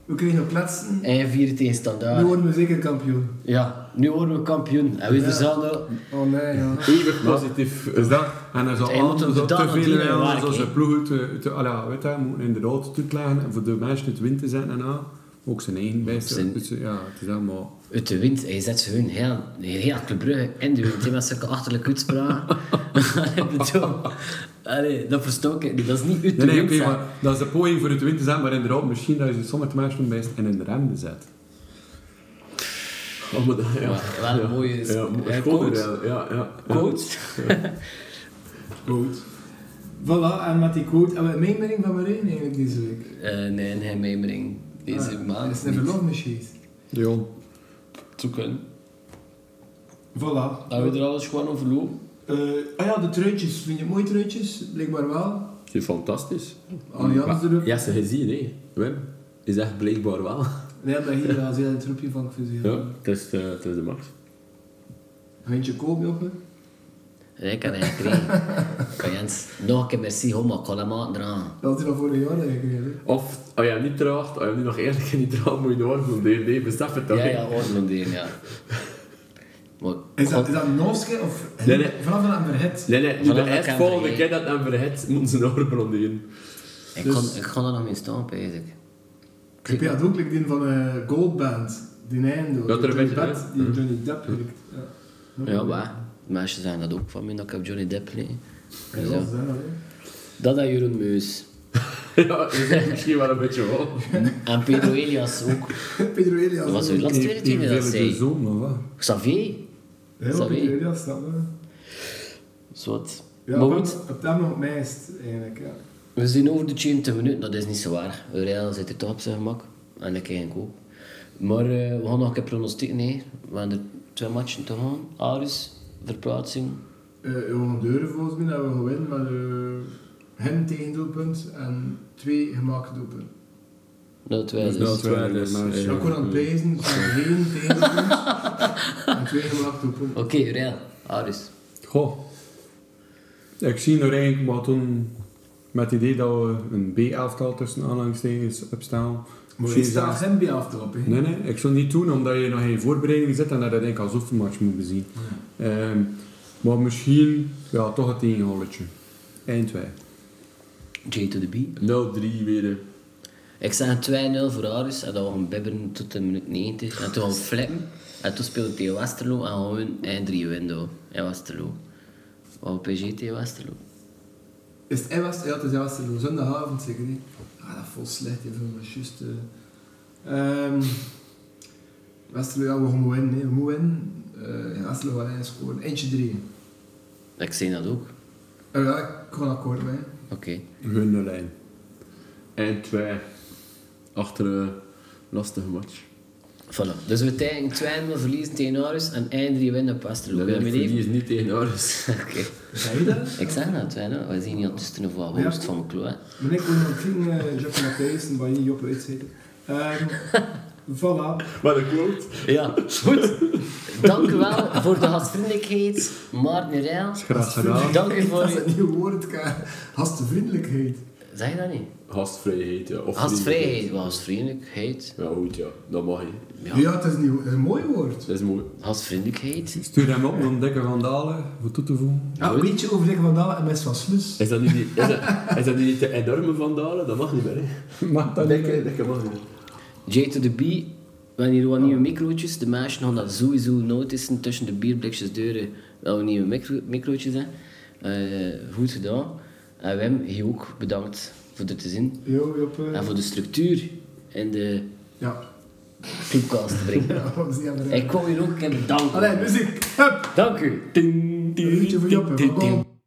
S3: We kregen nog kletsen.
S2: En vier tegen
S3: Nu
S2: standaard.
S3: worden we zeker kampioen.
S2: Ja, nu worden we kampioen. En we
S3: Ja.
S2: er zelf nog-
S3: Oh nee, ja.
S6: Eeuwig positief.
S4: Dus dat, en er
S2: Hij
S4: zou
S2: moet hem
S4: altijd
S2: gedaan
S4: te
S2: aan die
S4: veel willen,
S2: werk,
S4: zoals
S2: hè.
S4: de ploeg te, te, allee, weet je, moet inderdaad toetleggen en voor de mensen het win te zetten en aan. Ook zijn eigen bijster.
S2: Zijn-
S4: Dus, ja, het is allemaal...
S2: uit de wind. Hij zet ze hun heel, heel Club Brugge in de wind. hè, Met zulke achterlijke uitspraken. Ik bedoel, Allee, dat verstook ik niet. Dat is niet uit de
S4: Nee, nee,
S2: wind.
S4: oké,
S2: hè.
S4: maar dat is de poging voor het win te zetten, maar inderdaad, misschien dat je het sommige mensen best en in de remde zet.
S6: Oh, maar dat, ja.
S2: Maar wel een mooie
S6: Ja,
S2: is-
S6: ja,
S2: eh,
S6: coach.
S2: coach.
S6: Ja, ja, ja.
S2: Coach.
S3: Quote. Voilà, en met die quote hebben we een mijmering van Marijn eigenlijk deze week.
S2: Eh, nee, in Heemijmering. Deze
S3: Ah,
S2: maand.
S3: Is het een
S2: niet.
S3: verlof misschien?
S4: Ja.
S2: Zo kunnen.
S3: Voilà.
S6: Ah,
S2: Hebben Nou, we er alles gewoon over lopen?
S3: Eh, ah ja, de truitjes. Vind je het mooi truitjes? Blijkbaar wel. Ah,
S6: Het is fantastisch.
S3: Allianz erop.
S6: Ja, ze gezien, hè. Wim. Is echt blijkbaar wel.
S3: Nee, dat hier wel een troepje van gefuseerd.
S6: Ja, het is, eh, het is de max.
S3: Handje koop, joppen.
S2: Nee, ik heb het gekregen. Kan Jens, nog een keer merci, homo. Ik kan hem aan draaien.
S3: Dat had hij al vorig jaar eigenlijk. hè.
S6: Of, als je hem niet draagt, als je hem nu nog eerlijk niet draagt, moet je de orde doen. Nee, besef het toch.
S2: Ja,
S6: hè.
S2: ja, oorlogdelen, ja. Maar,
S3: Is
S2: God,
S3: dat, is dat een noske of
S6: Nee, nee.
S3: vanaf dat aan verhit?
S6: Nee, nee, nu
S2: Vanaf
S6: de
S2: dat ik hem
S6: volgende
S2: vergeet.
S6: keer dat hem verhet, moeten ze een oor blonderen.
S2: ik,
S3: dus-
S2: kon, ik kon er nog mee staan, eigenlijk.
S3: Ik heb dat ook like die van eh Goldband. Die Nijndo.
S6: Dat er een
S3: Johnny
S6: beetje-
S3: Depp-
S6: ja.
S3: Die Johnny Depp werkt. Ja.
S2: Hm.
S3: Hm.
S2: Ja, waar. Mensen zijn dat ook van mij, dat ik op Johnny Depp leek.
S3: Ja,
S2: Ja.
S3: dat is dat, hè.
S2: Dat had Jeroen Meus.
S6: ja, dat is misschien wel een beetje wel.
S2: En Pedro Elias ook.
S3: Pedro Elias.
S2: Dat was uw laatste tweede
S4: Die
S2: team dat
S4: willen de
S2: zei.
S4: zoon, of wat?
S2: Xavier?
S3: Heel
S2: Sorry.
S3: Pedro Elias, dat hè.
S2: Zwart.
S3: Ja,
S2: maar
S3: op,
S2: goed,
S3: op, dat moment meest, eigenlijk. Ja.
S2: we zijn over de 20 minuten, dat is niet zo waar. Aurel zit er toch op zijn gemak. En ik eigenlijk ook. Maar eh, we gaan nog een keer pronostieken, nee. We hebben er twee matchen te gaan. Aris, verplaatsing.
S3: Eh, we gaan deuren volgens mij dat we gaan winnen met eh hem tegen doelpunt en twee gemaakte doelpunten.
S2: Dat wij
S4: Dus
S2: dus.
S4: dat wij dus.
S6: dus,
S3: Ja,
S6: eh,
S3: ik kon aan het prijzen, dus één tegen doelpunt en twee gemaakte doelpunten.
S2: Oké, Aurel. Aris.
S4: Goh. Ik zie nog eigenlijk wat toen met het idee dat we een B-elftal tussen aanhalingstekens opstellen.
S3: Maar
S4: Misschien
S3: je staat
S4: zelfs-
S3: hem bij af te lopen.
S4: Nee, nee, ik zou het niet doen omdat je nog geen voorbereiding zit en dat je dat eigenlijk als oefenmatch moet bezien. Ehm, maar misschien ja, toch het tegenholletje. 1-2.
S2: J to the B.
S6: 0-3 weer. hè.
S2: Ik zag een 2-0 voor Aris en dan gaan we bibberen tot de minuut 90. En toen gaan we flippen. En toen speelde we tegen Westerlo en gewoon we en 3 window in Westerlo. Wat PG tegen Westerlo.
S3: Is het hij was, ja, het is hij was er zondagavond zeker niet. Ah, dat vol slecht, even maar juist. eh. Ehm Westerlo, ja, we gaan winnen, hè. we moeten winnen. Eh, en Westerlo gaat één scoren, eentje drie.
S2: Ik zei dat ook.
S3: Eh, ja, ik ga akkoord mee.
S2: Oké.
S4: Hun lijn.
S6: En 2. Achter een lastige match.
S2: Voilà. Dus we tegen 2-0 verliezen tegen Aris en eind 3 winnen op Westerlo.
S6: Dat
S2: Wil je
S6: heb
S2: me
S6: ik
S2: even?
S6: verlies niet tegen Aris.
S2: Oké.
S3: Zei je dat?
S2: Ik zeg dat 2-0. We zien niet tussen de
S3: Ja.
S2: voetbal hoofd van mijn kloot.
S3: Maar ik wil nog geen uh, Jacques Matthijs en Bailly Joppe uitzetten. Ehm voilà.
S6: Maar dat klopt.
S2: Ja, goed. Dank u wel voor de gastvriendelijkheid, Maarten Rijl.
S4: Graag gedaan.
S2: Dank u
S3: Dat is
S2: voor...
S3: een nieuw woord, ka- gastvriendelijkheid.
S2: Zeg je dat niet?
S6: Gastvrijheid, ja. Of
S2: Gastvrijheid, wel gastvriendelijkheid.
S6: Ja, goed, ja. Dat mag je.
S3: Ja, het is een, het is een mooi woord.
S6: Dat is mooi.
S2: Gastvriendelijkheid.
S4: Stuur hem op om dikke vandalen voor toe te voegen.
S3: Ja, een beetje over Dick van Dalen en Mes van Sluis.
S6: Is dat nu die, is dat, is dat nu die te enorme vandalen? Dat mag niet meer, hè.
S4: Mag dat niet?
S6: Dikke, dikke mag niet meer.
S2: J to the B, wanneer wat nieuwe microotjes, de meisjes gaan dat sowieso notissen tussen de bierblikjes deuren dat we nieuwe micro microotjes hebben. Eh, goed gedaan. En Wim, je ook bedankt voor dit te zien.
S3: Jo, Job, eh,
S2: En voor de structuur en de
S3: Ja.
S2: clubcast te brengen.
S3: Ja, dat is niet aan de rij.
S2: Ik kom hier ook en bedankt.
S3: Allee, muziek. Hup.
S2: Dank u. Ding, ding,
S3: Een liedje voor Job. hè.
S2: ding, ding,
S3: Kom.
S2: ding.